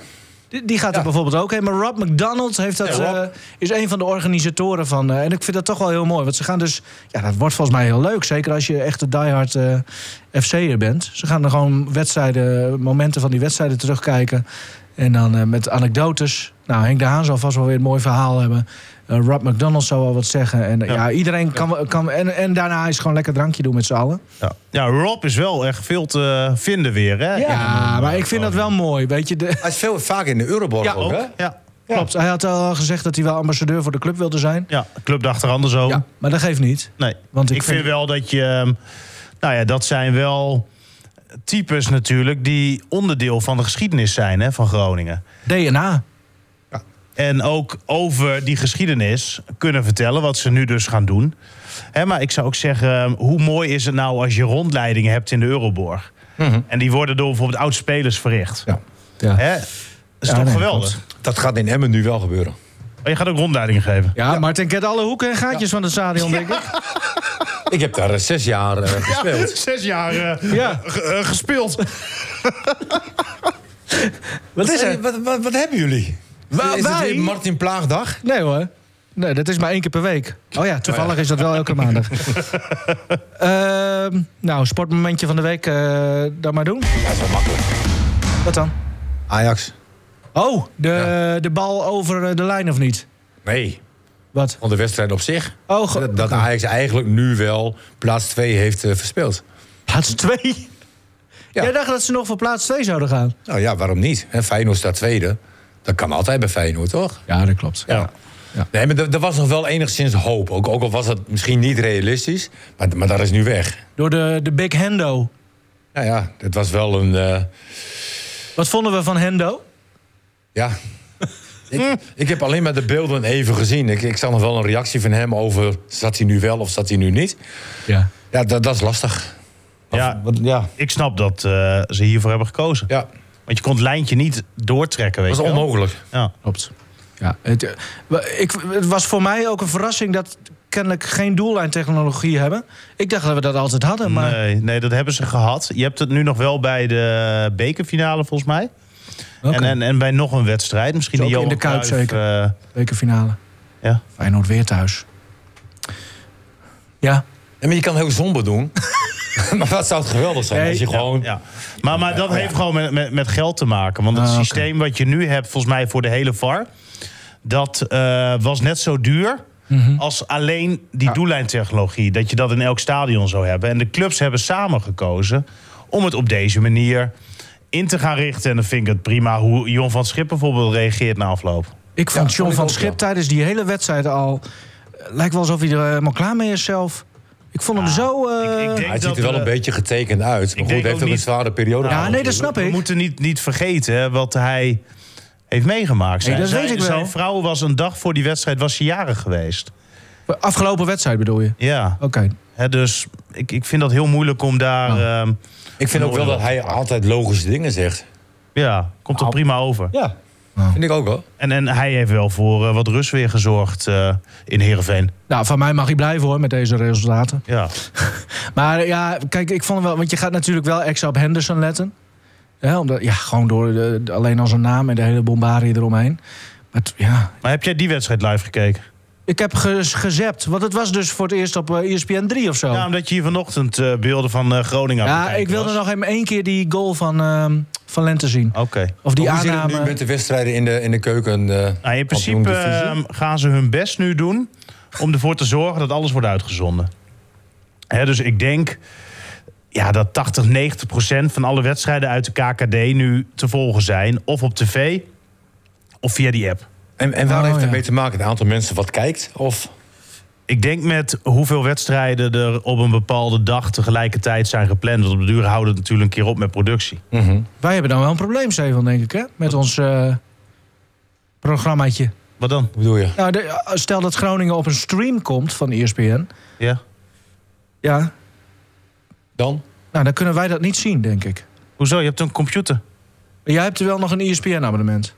Speaker 2: die, die gaat er
Speaker 4: Ja.
Speaker 2: bijvoorbeeld ook heen. Maar Rob McDonald heeft dat,
Speaker 4: Ja, Rob.
Speaker 2: eh, is een van de organisatoren van. eh, en ik vind dat toch wel heel mooi. Want ze gaan dus... Ja, dat wordt volgens mij heel leuk. Zeker als je echt een diehard eh FC'er bent. Ze gaan er gewoon wedstrijden, momenten van die wedstrijden terugkijken. En dan eh, met anekdotes. Nou, Henk de Haan zal vast wel weer een mooi verhaal hebben. Eh, Rob McDonald zal wel wat zeggen. En eh, ja, iedereen kan... wel- kan en, en daarna is gewoon lekker drankje doen met z'n allen.
Speaker 3: Ja. ja, Rob is wel echt veel te vinden weer,
Speaker 2: Ja,
Speaker 3: hè? in een, eh,
Speaker 2: maar ik vind dat wel mooi. Weet je, de,
Speaker 4: Hij is veel vaker in de Euroborg
Speaker 2: Ja, ook.
Speaker 4: ook, hè?
Speaker 3: Ja.
Speaker 2: Klopt. Hij had al gezegd dat hij wel ambassadeur voor de club wilde zijn.
Speaker 3: Ja, de club dacht er anders over.
Speaker 4: Ja.
Speaker 2: Maar dat geeft niet.
Speaker 3: Nee,
Speaker 2: Want
Speaker 3: want
Speaker 2: ik
Speaker 3: ik, vind
Speaker 2: vind-
Speaker 3: wel dat je... ehm, Nou ja, dat zijn wel types natuurlijk die onderdeel van de geschiedenis zijn hè, van Groningen.
Speaker 2: DNA.
Speaker 3: En ook over die geschiedenis kunnen vertellen wat ze nu dus gaan doen. Hè, maar ik zou ook zeggen, hoe mooi is het nou als je rondleidingen hebt in de Euroborg?
Speaker 2: Mhm.
Speaker 3: En die worden door bijvoorbeeld oud-spelers verricht.
Speaker 4: Ja.
Speaker 5: Ja.
Speaker 3: Hè? Dat is
Speaker 2: Ja,
Speaker 3: toch
Speaker 2: nee,
Speaker 3: geweldig?
Speaker 4: Dat gaat in Emmen nu wel gebeuren.
Speaker 3: Maar je gaat ook rondleidingen geven.
Speaker 2: Ja, Martin kent alle hoeken en gaatjes van het stadion, denk ik.
Speaker 4: Ik heb daar eh, zes jaar eh, gespeeld.
Speaker 3: Zes jaar eh,
Speaker 2: Ja.
Speaker 3: ge- eh, gespeeld.
Speaker 2: Wat is
Speaker 4: Hey,
Speaker 2: er?
Speaker 4: wat, wat, wat hebben jullie?
Speaker 2: Wa-
Speaker 4: is het
Speaker 2: wij?
Speaker 4: weer Martin Plaagdag?
Speaker 2: Nee hoor. Nee, dat is maar één keer per week. Oh ja, toevallig is dat wel elke maandag. Ehm, nou, sportmomentje van de week, eh dat maar doen.
Speaker 4: Ja, dat is wel makkelijk.
Speaker 2: Wat dan?
Speaker 4: Ajax?
Speaker 2: Oh, de, de bal over eh, de lijn of niet?
Speaker 4: Nee,
Speaker 2: Wat?
Speaker 4: want de wedstrijd op zich.
Speaker 2: Oh, go-
Speaker 4: Dat, dat Ajax eigenlijk nu wel plaats 2 heeft eh, verspeeld.
Speaker 2: plaats 2.
Speaker 4: Ja.
Speaker 2: Jij dacht dat ze nog voor plaats 2 zouden gaan?
Speaker 4: Nou ja, waarom niet? Hè, Feyenoord staat tweede. Dat kan altijd bij Feyenoord, toch?
Speaker 2: Ja, dat klopt.
Speaker 4: Ja. Nee, maar er- er was nog wel enigszins hoop. Ook, ook al was dat misschien niet realistisch, maar, maar dat is nu weg.
Speaker 2: Door de, de Big Hendo.
Speaker 4: Nou ja, het was wel een... eh,
Speaker 2: Wat vonden we van Hendo?
Speaker 4: ja. ik, ik heb alleen maar de beelden even gezien. Ik, ik zag nog wel een reactie van hem over... zat hij nu wel of zat hij nu niet?
Speaker 2: Ja.
Speaker 4: Ja, dat, dat is lastig.
Speaker 3: Ja,
Speaker 4: Want, ja.
Speaker 3: ik snap dat eh, ze hiervoor hebben gekozen.
Speaker 4: Ja,
Speaker 3: Want je kon het lijntje niet doortrekken, weet
Speaker 4: dat is
Speaker 3: je wel.
Speaker 4: onmogelijk.
Speaker 3: Ja.
Speaker 2: Klopt. Ja, het, eh, wa- ik, het was voor mij ook een verrassing dat kennelijk geen doellijntechnologie hebben. Ik dacht dat we dat altijd hadden, maar
Speaker 3: Nee, nee, dat hebben ze gehad. Je hebt het nu nog wel bij de bekerfinale, volgens mij.
Speaker 2: Oké.
Speaker 3: En, en, en bij nog een wedstrijd. Misschien
Speaker 2: Is
Speaker 3: die
Speaker 2: ook in
Speaker 3: Johan
Speaker 2: de Kuip
Speaker 3: Cruijff, eh,
Speaker 2: bekerfinale.
Speaker 3: ja.
Speaker 2: Feyenoord weer thuis. Ja.
Speaker 4: Ja, maar je kan heel somber doen. maar wat zou het geweldig zijn
Speaker 2: Nee,
Speaker 4: als je gewoon...
Speaker 3: ja. Maar, maar dat heeft gewoon met, met, met geld te maken. Want het
Speaker 2: Ah, oké.
Speaker 3: systeem wat je nu hebt, volgens mij voor de hele VAR... dat eh, was net zo duur
Speaker 2: Mhm.
Speaker 3: als alleen die doellijntechnologie. Dat je dat in elk stadion zou hebben. En de clubs hebben samen gekozen om het op deze manier in te gaan richten. En dan vind ik het prima hoe Jon van Schip bijvoorbeeld reageert na afloop.
Speaker 2: Ik vond
Speaker 4: vond
Speaker 2: John
Speaker 4: ik
Speaker 2: van
Speaker 4: ook
Speaker 2: Schip
Speaker 4: wel.
Speaker 2: tijdens die hele wedstrijd al... eh, Lijkt wel alsof hij er helemaal klaar mee is zelf. Ik vond hem zo... eh,
Speaker 3: ik denk-
Speaker 4: Hij ziet er wel
Speaker 3: dat,
Speaker 4: een
Speaker 3: eh,
Speaker 4: beetje getekend uit. Maar
Speaker 3: denk
Speaker 4: goed, hij
Speaker 3: ook
Speaker 4: heeft ook een
Speaker 3: niet-
Speaker 4: zware periode
Speaker 2: ja,
Speaker 4: gehad.
Speaker 2: nee, dat snap
Speaker 3: Nou, We
Speaker 2: ik.
Speaker 3: moeten niet, niet vergeten hè, wat hij heeft meegemaakt.
Speaker 2: Nee, dat
Speaker 3: Zijn-
Speaker 2: weet ik wel.
Speaker 3: Zijn vrouw was een dag voor die wedstrijd was ze jarig geweest.
Speaker 2: Afgelopen wedstrijd bedoel je?
Speaker 3: Ja,
Speaker 2: Oké.
Speaker 3: hè, dus ik, ik vind dat heel moeilijk om daar...
Speaker 2: Oh.
Speaker 3: ehm,
Speaker 4: Ik vind ook wel
Speaker 3: Mooi
Speaker 4: dat hij altijd logische dingen zegt.
Speaker 3: ja, komt er prima over.
Speaker 4: Ja, vind ik ook wel.
Speaker 3: En, en hij heeft wel voor eh, wat rust weer gezorgd eh, in Heerenveen.
Speaker 2: Nou, van mij mag hij blijven hoor, met deze resultaten.
Speaker 3: Ja.
Speaker 2: Maar eh, ja, kijk, ik vond hem wel... Want je gaat natuurlijk wel extra op Henderson letten. Ja, omdat, ja gewoon door de- de- alleen al zijn naam en de hele bombarie eromheen. Maar t- ja...
Speaker 3: Maar heb jij die wedstrijd live gekeken?
Speaker 2: Ik heb ge gezept, want het was dus voor het eerst op eh, ESPN 3 of zo.
Speaker 3: Ja, omdat je hier vanochtend eh, beelden van eh, Groningen aan het
Speaker 2: Ja,
Speaker 3: kijken
Speaker 2: ik wilde
Speaker 3: was.
Speaker 2: nog even één keer die goal van, ehm, van Lente zien.
Speaker 3: Oké.
Speaker 2: Of die
Speaker 4: Hoe zit het nu
Speaker 2: aanname.
Speaker 4: met de wedstrijden in de, in de keuken? eh,
Speaker 3: Nou, in principe
Speaker 4: kampioendivisie?
Speaker 3: ehm, gaan ze hun best nu doen om ervoor te zorgen dat alles wordt uitgezonden. Hè, dus ik denk ja, dat 80, 90 procent van alle wedstrijden uit de KKD nu te volgen zijn. Of op tv of via die app.
Speaker 4: en, en waar
Speaker 2: Oh,
Speaker 3: nou
Speaker 4: heeft het
Speaker 2: ja.
Speaker 4: mee te maken? Het aantal mensen wat kijkt? Of
Speaker 3: Ik denk met hoeveel wedstrijden er op een bepaalde dag tegelijkertijd zijn gepland. Want op de duur houden het natuurlijk een keer op met productie.
Speaker 2: Wij hebben dan wel een probleem, Steven, denk ik, hè? Met ons eh programmaatje.
Speaker 3: Wat dan?
Speaker 4: hoe bedoel je?
Speaker 2: Nou, de- stel dat Groningen op een stream komt van E ESPN.
Speaker 3: Ja?
Speaker 2: Ja.
Speaker 4: Dan? Oh,
Speaker 2: Nou, dan kunnen wij dat niet zien, denk ik.
Speaker 3: Hoezo? Je hebt een computer.
Speaker 2: Maar jij hebt wel nog een E ESPN-abonnement.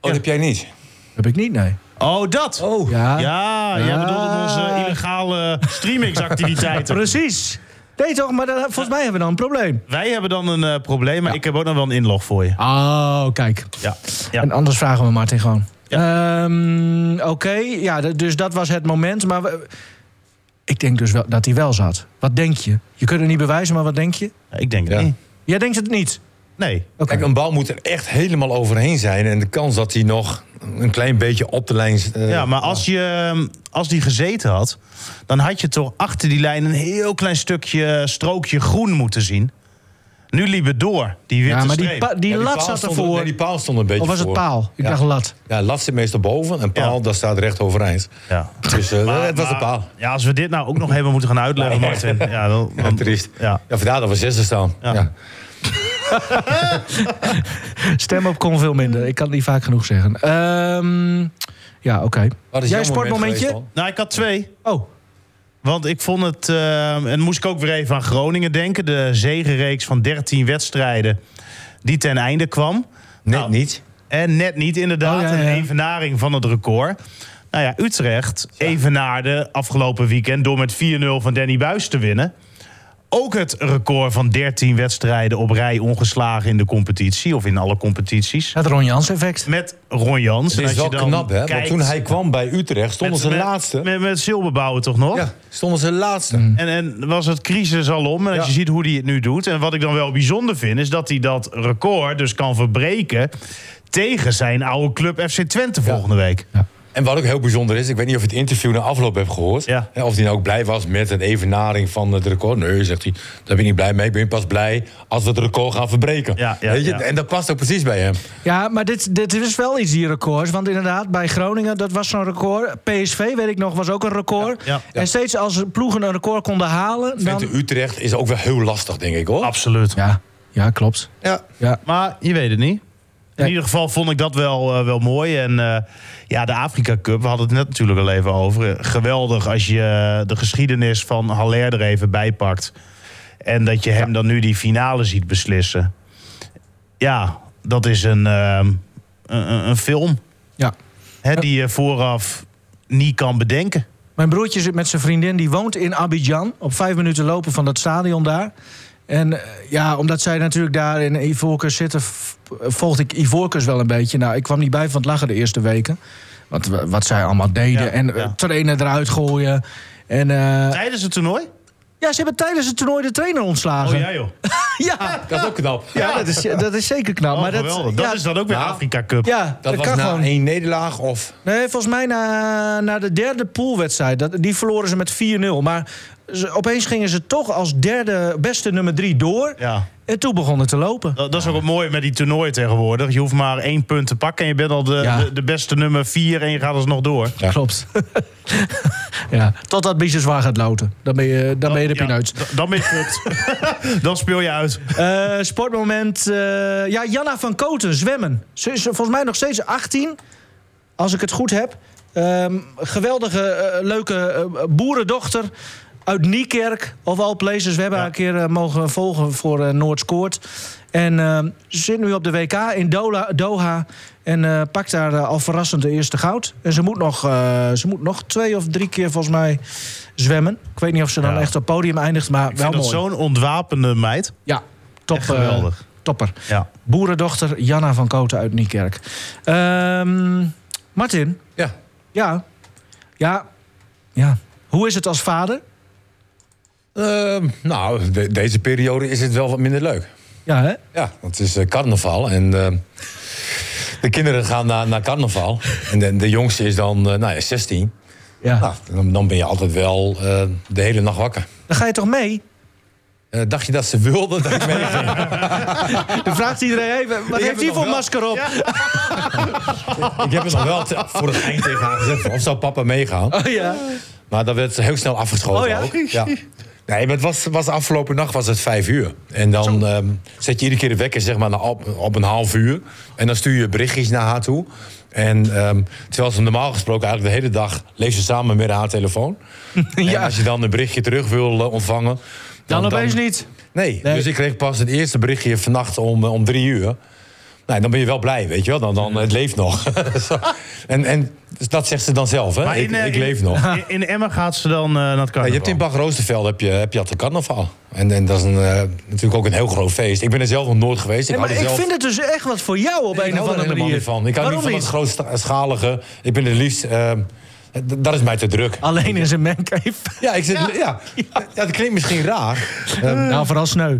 Speaker 4: Oh, dat heb jij niet.
Speaker 2: Heb ik niet, nee.
Speaker 3: Oh, dat!
Speaker 4: Oh,
Speaker 2: Ja.
Speaker 3: Ja, jij
Speaker 2: Ah.
Speaker 3: bedoelt onze illegale streamingsactiviteiten.
Speaker 2: Precies. Nee, toch? Maar dan- volgens mij hebben we dan een probleem.
Speaker 3: Wij hebben dan een eh, probleem, maar ik heb ook nog wel een inlog voor je.
Speaker 2: Oh, kijk.
Speaker 3: Ja. ja.
Speaker 2: En anders vragen we Martin gewoon. Ehm, Oké, ja, d- dus dat was het moment. Maar we- ik denk dus wel dat hij wel zat. Wat denk je? Je kunt het niet bewijzen, maar wat denk je?
Speaker 3: Ik denk het
Speaker 4: Ja.
Speaker 3: niet.
Speaker 2: Jij denkt het niet.
Speaker 3: Nee.
Speaker 2: Oké.
Speaker 4: Kijk, een bal moet er echt helemaal overheen zijn. En de kans dat hij nog een klein beetje op de lijn... eh,
Speaker 3: Ja, maar als, je, ehm, als die gezeten had, dan had je toch achter die lijn een heel klein stukje eh, strookje groen moeten zien. Nu liep het door, die witte
Speaker 2: Ja, maar die,
Speaker 3: streep.
Speaker 2: pa- die
Speaker 4: Ja,
Speaker 2: lat
Speaker 4: paal
Speaker 2: zat
Speaker 4: stond-
Speaker 2: ervoor.
Speaker 4: nee, die paal stond een beetje
Speaker 2: of was het
Speaker 4: voor.
Speaker 2: paal? Ik
Speaker 4: Ja.
Speaker 2: dacht lat.
Speaker 4: Ja, lat zit meestal boven en paal,
Speaker 3: Ja.
Speaker 4: daar staat recht overeind.
Speaker 3: Ja.
Speaker 4: Dus eh,
Speaker 3: Maar-
Speaker 4: het was
Speaker 3: maar-
Speaker 4: een paal.
Speaker 3: Ja, als we dit nou ook nog even moeten gaan uitleggen, Martin. Ja, dan,
Speaker 4: Ja,
Speaker 3: dan-
Speaker 4: triest.
Speaker 3: Ja.
Speaker 4: Ja. vandaar dat we zesde staan.
Speaker 3: Ja.
Speaker 4: Ja.
Speaker 2: Stem op kon veel minder. Ik kan het niet vaak genoeg zeggen. Ehm, ja, oké.
Speaker 4: Wat is
Speaker 2: Jij
Speaker 4: jouw
Speaker 2: sportmomentje?
Speaker 4: geweest, man?
Speaker 3: Nou, ik had twee.
Speaker 2: Oh,
Speaker 3: Want ik vond het, eh, en moest ik ook weer even aan Groningen denken. De zegenreeks van 13 wedstrijden die ten einde kwam.
Speaker 4: Net
Speaker 3: Nou,
Speaker 4: niet.
Speaker 3: En net niet inderdaad
Speaker 2: Oh, ja, ja.
Speaker 3: een evenaring van het record. Nou ja, Utrecht evenaarde afgelopen weekend door met 4-0 van Danny Buis te winnen. Ook het record van 13 wedstrijden op rij ongeslagen in de competitie of in alle competities.
Speaker 2: het Ron Jans effect.
Speaker 3: Met Ron Jans. En
Speaker 4: Het is
Speaker 3: als je
Speaker 4: wel
Speaker 3: dan
Speaker 4: knap, hè? Want
Speaker 3: kijkt-
Speaker 4: toen hij kwam bij Utrecht, stonden
Speaker 3: met-
Speaker 4: ze
Speaker 3: met-
Speaker 4: laatste.
Speaker 3: Met, met Silberbouwer toch nog?
Speaker 4: Ja, stonden ze laatste.
Speaker 2: Mm.
Speaker 3: En, en was het crisis al om. En als
Speaker 4: Ja.
Speaker 3: je ziet hoe hij het nu doet. En wat ik dan wel bijzonder vind, is dat hij dat record dus kan verbreken. tegen zijn oude club FC Twente volgende week.
Speaker 4: En wat ook heel bijzonder is, ik weet niet of je het interview na afloop hebt gehoord.
Speaker 3: Ja.
Speaker 4: Hè, Of hij nou ook blij was met een evenaring van het record. Nee, zegt hij, daar ben ik niet blij mee. Ik ben pas blij als we het record gaan verbreken.
Speaker 3: Ja, ja,
Speaker 4: Weet je?
Speaker 3: ja.
Speaker 4: En dat past ook precies bij hem.
Speaker 2: Ja, maar dit, dit is wel iets, die records. Want inderdaad, bij Groningen, dat was zo'n record. PSV, weet ik nog, was ook een record.
Speaker 3: Ja,
Speaker 4: ja.
Speaker 2: En steeds als ploegen een record konden halen...
Speaker 4: Twente
Speaker 2: Dan...
Speaker 4: Utrecht is ook wel heel lastig, denk ik hoor.
Speaker 3: Absoluut.
Speaker 2: Ja, ja, klopt.
Speaker 4: Ja.
Speaker 2: Ja.
Speaker 3: Maar je weet het niet. In
Speaker 2: Nee.
Speaker 3: ieder geval vond ik dat wel, eh, wel mooi. En eh, ja, de Afrika Cup, we hadden het net natuurlijk al even over. Eh, Geweldig als je eh, de geschiedenis van Haller er even bij pakt. En dat je hem dan nu die finale ziet beslissen. Ja, dat is een, ehm, een, een- een film
Speaker 2: Ja.
Speaker 3: hè, die je vooraf niet kan bedenken.
Speaker 2: Mijn broertje zit met zijn vriendin, die woont in Abidjan. Op vijf minuten lopen van dat stadion daar. En eh, ja, omdat zij natuurlijk daar in Ivoorkust zitten... v- volgde ik Ivoorkust wel een beetje. Nou, ik kwam niet bij van het lachen de eerste weken. Wat, we- wat zij allemaal deden.
Speaker 3: Ja,
Speaker 2: en eh,
Speaker 3: ja.
Speaker 2: trainen eruit gooien. En eh,
Speaker 3: Tijdens het toernooi?
Speaker 2: ja, ze hebben tijdens het toernooi de trainer ontslagen.
Speaker 3: Oh ja joh.
Speaker 2: ja.
Speaker 4: Dat is ook knap.
Speaker 2: Ja, dat is, dat is zeker knap.
Speaker 3: Oh,
Speaker 2: maar dat,
Speaker 3: geweldig. Dat,
Speaker 2: ja,
Speaker 3: is dan ook weer
Speaker 4: Nou,
Speaker 3: Afrika Cup.
Speaker 2: Ja,
Speaker 4: Dat
Speaker 2: dat,
Speaker 4: was
Speaker 2: kan
Speaker 4: na
Speaker 2: gewoon.
Speaker 4: één nederlaag of...
Speaker 2: Nee, volgens mij na, na de derde poolwedstrijd. Dat, die verloren ze met 4-0. Maar ze, opeens gingen ze toch als derde beste nummer drie door.
Speaker 3: ja.
Speaker 2: En toen begon het te lopen.
Speaker 3: Dat, dat is ook het mooie met die toernooi tegenwoordig. Je hoeft maar één punt te pakken en je bent al de,
Speaker 2: Ja.
Speaker 3: de, de beste nummer vier en je gaat alsnog door.
Speaker 4: Ja.
Speaker 2: Klopt. ja, totdat Biesje zwaar gaat loten. Dan ben je, dan ben je de
Speaker 3: Ja,
Speaker 2: pineut.
Speaker 3: d- dan ben je fucked. dan speel je uit.
Speaker 2: Eh, sportmoment. eh, ja, Janna van Koten, zwemmen. Ze is volgens mij nog steeds 18, als ik het goed heb. Ehm, geweldige, eh, leuke eh, boerendochter uit Niekerk. Of all places. We hebben
Speaker 3: Ja.
Speaker 2: haar een keer eh, mogen volgen voor eh, Noord-Scoort. En ehm, ze zit nu op de WK in Dola- Doha. En eh, pakt daar eh, al verrassend de eerste goud. En ze moet, nog, eh, ze moet nog twee of drie keer volgens mij zwemmen. Ik weet niet of ze dan
Speaker 3: Ja.
Speaker 2: echt op het podium eindigt, maar
Speaker 3: Ik
Speaker 2: wel
Speaker 3: vind dat
Speaker 2: mooi.
Speaker 3: zo'n ontwapende meid.
Speaker 2: Ja, top,
Speaker 3: Echt geweldig.
Speaker 2: eh, topper.
Speaker 3: Ja.
Speaker 2: Boerendochter Janna van Koten uit Niekerk. Ehm, Martin,
Speaker 4: Ja.
Speaker 2: ja. Ja. Ja. Hoe is het als vader?
Speaker 4: Ehm, nou, de- deze periode is het wel wat minder leuk.
Speaker 2: Ja, hè?
Speaker 4: Ja, want het is eh, carnaval en eh, de kinderen gaan naar, naar carnaval. En de, de jongste is dan eh, nou ja, 16.
Speaker 2: Ja.
Speaker 4: Nou, dan, dan ben je altijd wel eh, de hele nacht wakker.
Speaker 2: Dan ga je toch mee?
Speaker 4: Eh, dacht je dat ze wilde dat ik meeging?
Speaker 2: Dan vraagt iedereen even, wat
Speaker 4: Ik heb
Speaker 2: heeft
Speaker 4: het
Speaker 2: die
Speaker 4: nog
Speaker 2: voor
Speaker 4: wel.
Speaker 2: masker op? Ja.
Speaker 4: ik heb het nog wel te- voor het eind tegen haar gezegd. van, Of zou papa meegaan?
Speaker 2: Oh ja.
Speaker 4: Maar dat werd ze heel snel afgeschoten
Speaker 2: Oh ja?
Speaker 4: ook. Ja. Nee, maar het was, was de afgelopen nacht was het vijf uur. En dan ehm, zet je iedere keer de wekker zeg maar, na- op, op een half uur. En dan stuur je berichtjes naar haar toe. En ehm, terwijl ze normaal gesproken eigenlijk de hele dag leeft ze samen met haar telefoon. En
Speaker 2: Ja.
Speaker 4: als je dan een berichtje terug wil eh, ontvangen...
Speaker 2: Dan opeens niet.
Speaker 4: Nee,
Speaker 2: Nee.
Speaker 4: dus ik kreeg pas het eerste berichtje vannacht om, eh, om drie uur. Nou, dan ben je wel blij, weet je wel. Dan, dan het leeft nog. Zo. en, en dat zegt ze dan zelf, hè?
Speaker 3: Maar
Speaker 4: Ik,
Speaker 3: in, eh,
Speaker 4: ik
Speaker 3: in-
Speaker 4: leef nog.
Speaker 3: In, in Emmen gaat ze dan eh, naar het
Speaker 4: Ja,
Speaker 3: carnaval.
Speaker 4: je hebt in Bach Roosterveld heb je, heb je altijd carnaval. En, en dat is een, eh, natuurlijk ook een heel groot feest. Ik ben er zelf nog nooit geweest. Ik
Speaker 2: Nee, maar
Speaker 4: hou er
Speaker 2: ik
Speaker 4: zelf...
Speaker 2: vind het dus echt wat voor jou op
Speaker 4: ik
Speaker 2: een of
Speaker 4: hou er
Speaker 2: andere
Speaker 4: helemaal
Speaker 2: manier.
Speaker 4: niet van. Ik hou niet
Speaker 2: Waarom
Speaker 4: van het grootschalige. Ik ben het liefst... eh, d- dat is mij te druk.
Speaker 2: Alleen in zijn mancave.
Speaker 4: Ja, ik zit, ja. Ja. dat klinkt misschien raar. ehm,
Speaker 2: Nou, vooral sneu.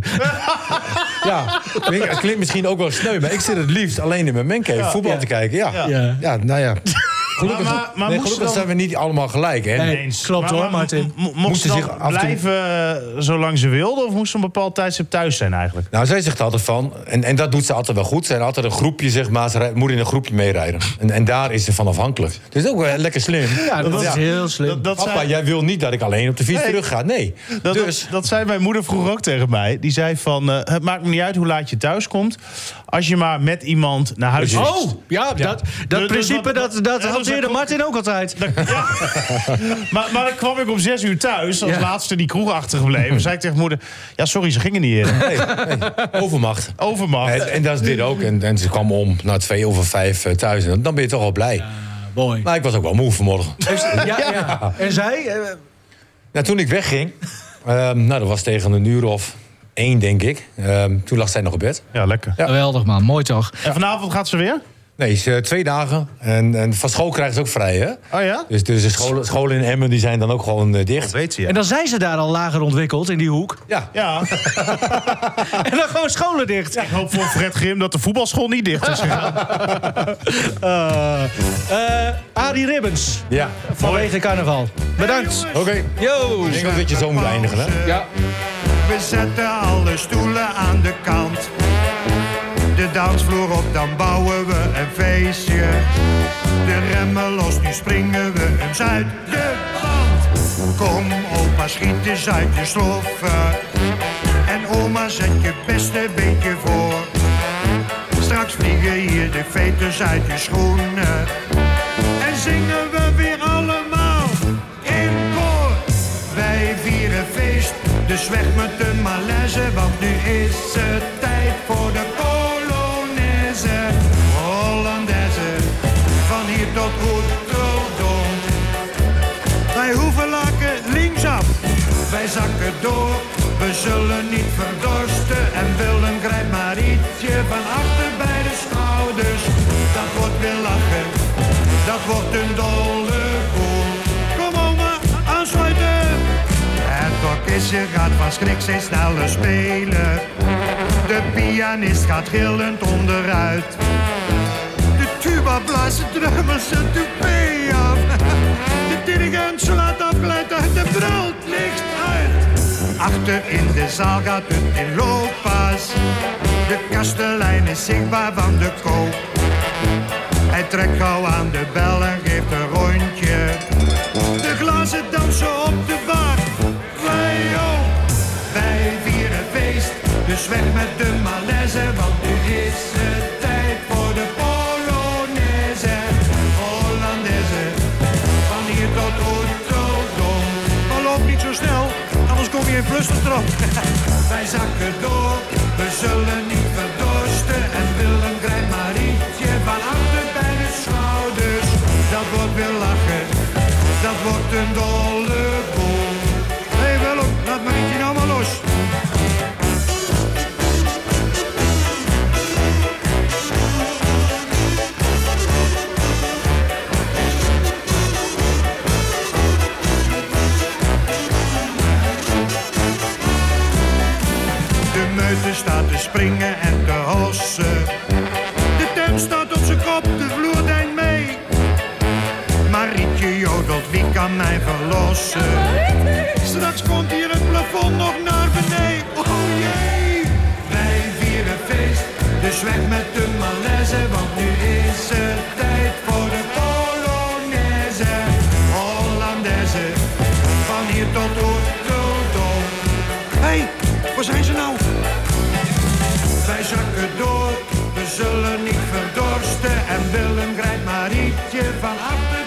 Speaker 4: Ja, klinkt- het klinkt misschien ook wel sneu, maar ik zit het liefst alleen in mijn mancave voetbal
Speaker 2: Ja.
Speaker 4: te kijken. Ja.
Speaker 3: Ja.
Speaker 4: Ja. nou ja. gelukkig,
Speaker 3: Maar- maar- maar
Speaker 4: nee,
Speaker 3: moesten
Speaker 4: gelukkig
Speaker 3: dan-
Speaker 4: zijn we niet allemaal gelijk. Hè?
Speaker 2: Nee. klopt hoor, Martin.
Speaker 3: mo- Mocht
Speaker 4: Moest
Speaker 3: ze
Speaker 4: ze
Speaker 3: dan
Speaker 4: zich af en toe-
Speaker 3: blijven eh, zolang ze wilde? Of moest ze een bepaald tijdstip thuis zijn eigenlijk?
Speaker 4: Nou, zij zegt altijd van, en, en dat doet ze altijd wel goed. Ze heeft altijd een groepje, zeg maar. Ze rijdt- moet in een groepje meerijden. En, en daar is ze van afhankelijk. Dus ook wel lekker slim.
Speaker 2: Ja, dat is
Speaker 4: Ja.
Speaker 2: heel slim.
Speaker 3: Dat, dat,
Speaker 4: Papa,
Speaker 3: zei,
Speaker 4: jij wil niet dat ik alleen op de fiets
Speaker 3: Nee.
Speaker 4: terug ga. Nee.
Speaker 3: dat,
Speaker 4: dus,
Speaker 3: dat, dat zei mijn moeder vroeger ook tegen mij. Die zei van, eh, het maakt me niet uit hoe laat je thuis komt. Als je maar met iemand naar huis
Speaker 4: Precies.
Speaker 3: gaat.
Speaker 2: Oh, ja, dat, dat
Speaker 3: Dus- dus
Speaker 2: principe
Speaker 3: dat-
Speaker 2: dat, dat,
Speaker 3: Ja, dus
Speaker 2: hanteerde
Speaker 3: dat-
Speaker 2: Martin ook altijd.
Speaker 3: Maar, maar dan kwam ik om zes uur thuis. Als
Speaker 2: Ja.
Speaker 3: laatste die kroeg achtergebleven. zei ik tegen moeder, ja sorry, ze gingen niet in.
Speaker 4: nee, nee. Overmacht.
Speaker 3: Overmacht.
Speaker 4: En, en dat is dit ook. En, en ze kwam om na twee over vijf eh, thuis. En dan ben je toch al blij.
Speaker 2: Boy.
Speaker 4: Maar ik was ook wel moe vanmorgen.
Speaker 2: Ja, ja. En zij? eh,
Speaker 4: Nou, toen ik wegging, ehm, nou, dat was tegen een uur of één, denk ik. Ehm, toen lag zij nog op bed.
Speaker 3: Ja, lekker.
Speaker 4: Ja.
Speaker 2: Geweldig man, mooi toch?
Speaker 3: En vanavond gaat ze weer?
Speaker 4: Nee, ze, eh, twee dagen. En, en van school krijgen ze ook vrij, hè?
Speaker 3: Oh ja?
Speaker 4: Dus, dus de scholen, scholen in Emmen die zijn dan ook gewoon eh, dicht.
Speaker 3: weet ze, ja.
Speaker 2: En dan zijn ze daar al lager ontwikkeld in die hoek.
Speaker 4: Ja.
Speaker 3: Ja,
Speaker 2: En dan gewoon scholen dicht.
Speaker 3: ik hoop voor Fred Grim dat de voetbalschool niet dicht is gegaan.
Speaker 2: Eh Arie Ribbons,
Speaker 4: Ja.
Speaker 2: vanwege carnaval. Bedankt.
Speaker 4: Oké.
Speaker 2: Yo.
Speaker 4: Ik denk ook dat je zo moet eindigen, hè?
Speaker 2: Ja.
Speaker 5: We zetten alle stoelen aan de kant. De dansvloer op, dan bouwen we een feestje. De remmen los, nu springen we eens uit de band. Kom opa, schiet eens uit je sloffen. En oma, zet je beste beetje voor. Straks vliegen hier de veters uit je schoenen. En zingen we weer allemaal in koor. Wij vieren feest, dus weg met de malaise. Want nu is het tijd voor de Polonaise. Hollandaise, van hier tot Rotterdam. Wij hoeven lakken linksaf, wij zakken door. We zullen niet verdorsten en Willem grijpt maar ietsje van achter bij de schouders. Dat wordt weer lachen, dat wordt een dolle koel. Kom oma, aansluiten! Het orkestje gaat van schrik steeds sneller spelen. De pianist gaat gillend onderuit. De tuba blaast de drummers en toupé af. De dirigent slaat afgeleid uit de brult licht uit. Achter in de zaal gaat het in loopbaas. De kastelein is zichtbaar van de koop. Hij trekt gauw aan de bel en geeft een rondje. De glazen dansen op de bar. Wij ook. Wij vieren feest, dus weg met de malaise, want nu is het tijd voor de Polonaise, Hollandaise, van hier tot Rotterdam. Maar loop niet zo snel, anders kom je in Brussel erop. Wij zakken door, we zullen niet verdorsten en Willem krijgt Marietje van achter bij de schouders. Dat wordt weer lachen, dat wordt een dolle boel. Hé hey Willem, laat Marietje nou maar los. De meute staat te springen en te hossen. De tent staat op zijn kop, de vloer denkt mee. Marietje jodelt, wie kan mij verlossen? Straks komt hier het plafond nog naar beneden. Oh jee! Wij vieren feest, dus weg met de malaise. Want nu is het tijd voor de Polonaise, Hollandaise. Van hier tot Rotterdam. Hé, hey, waar zijn ze nou? Wij zakken door, we zullen niet verdorsten. En Willem grijpt Marietje van achter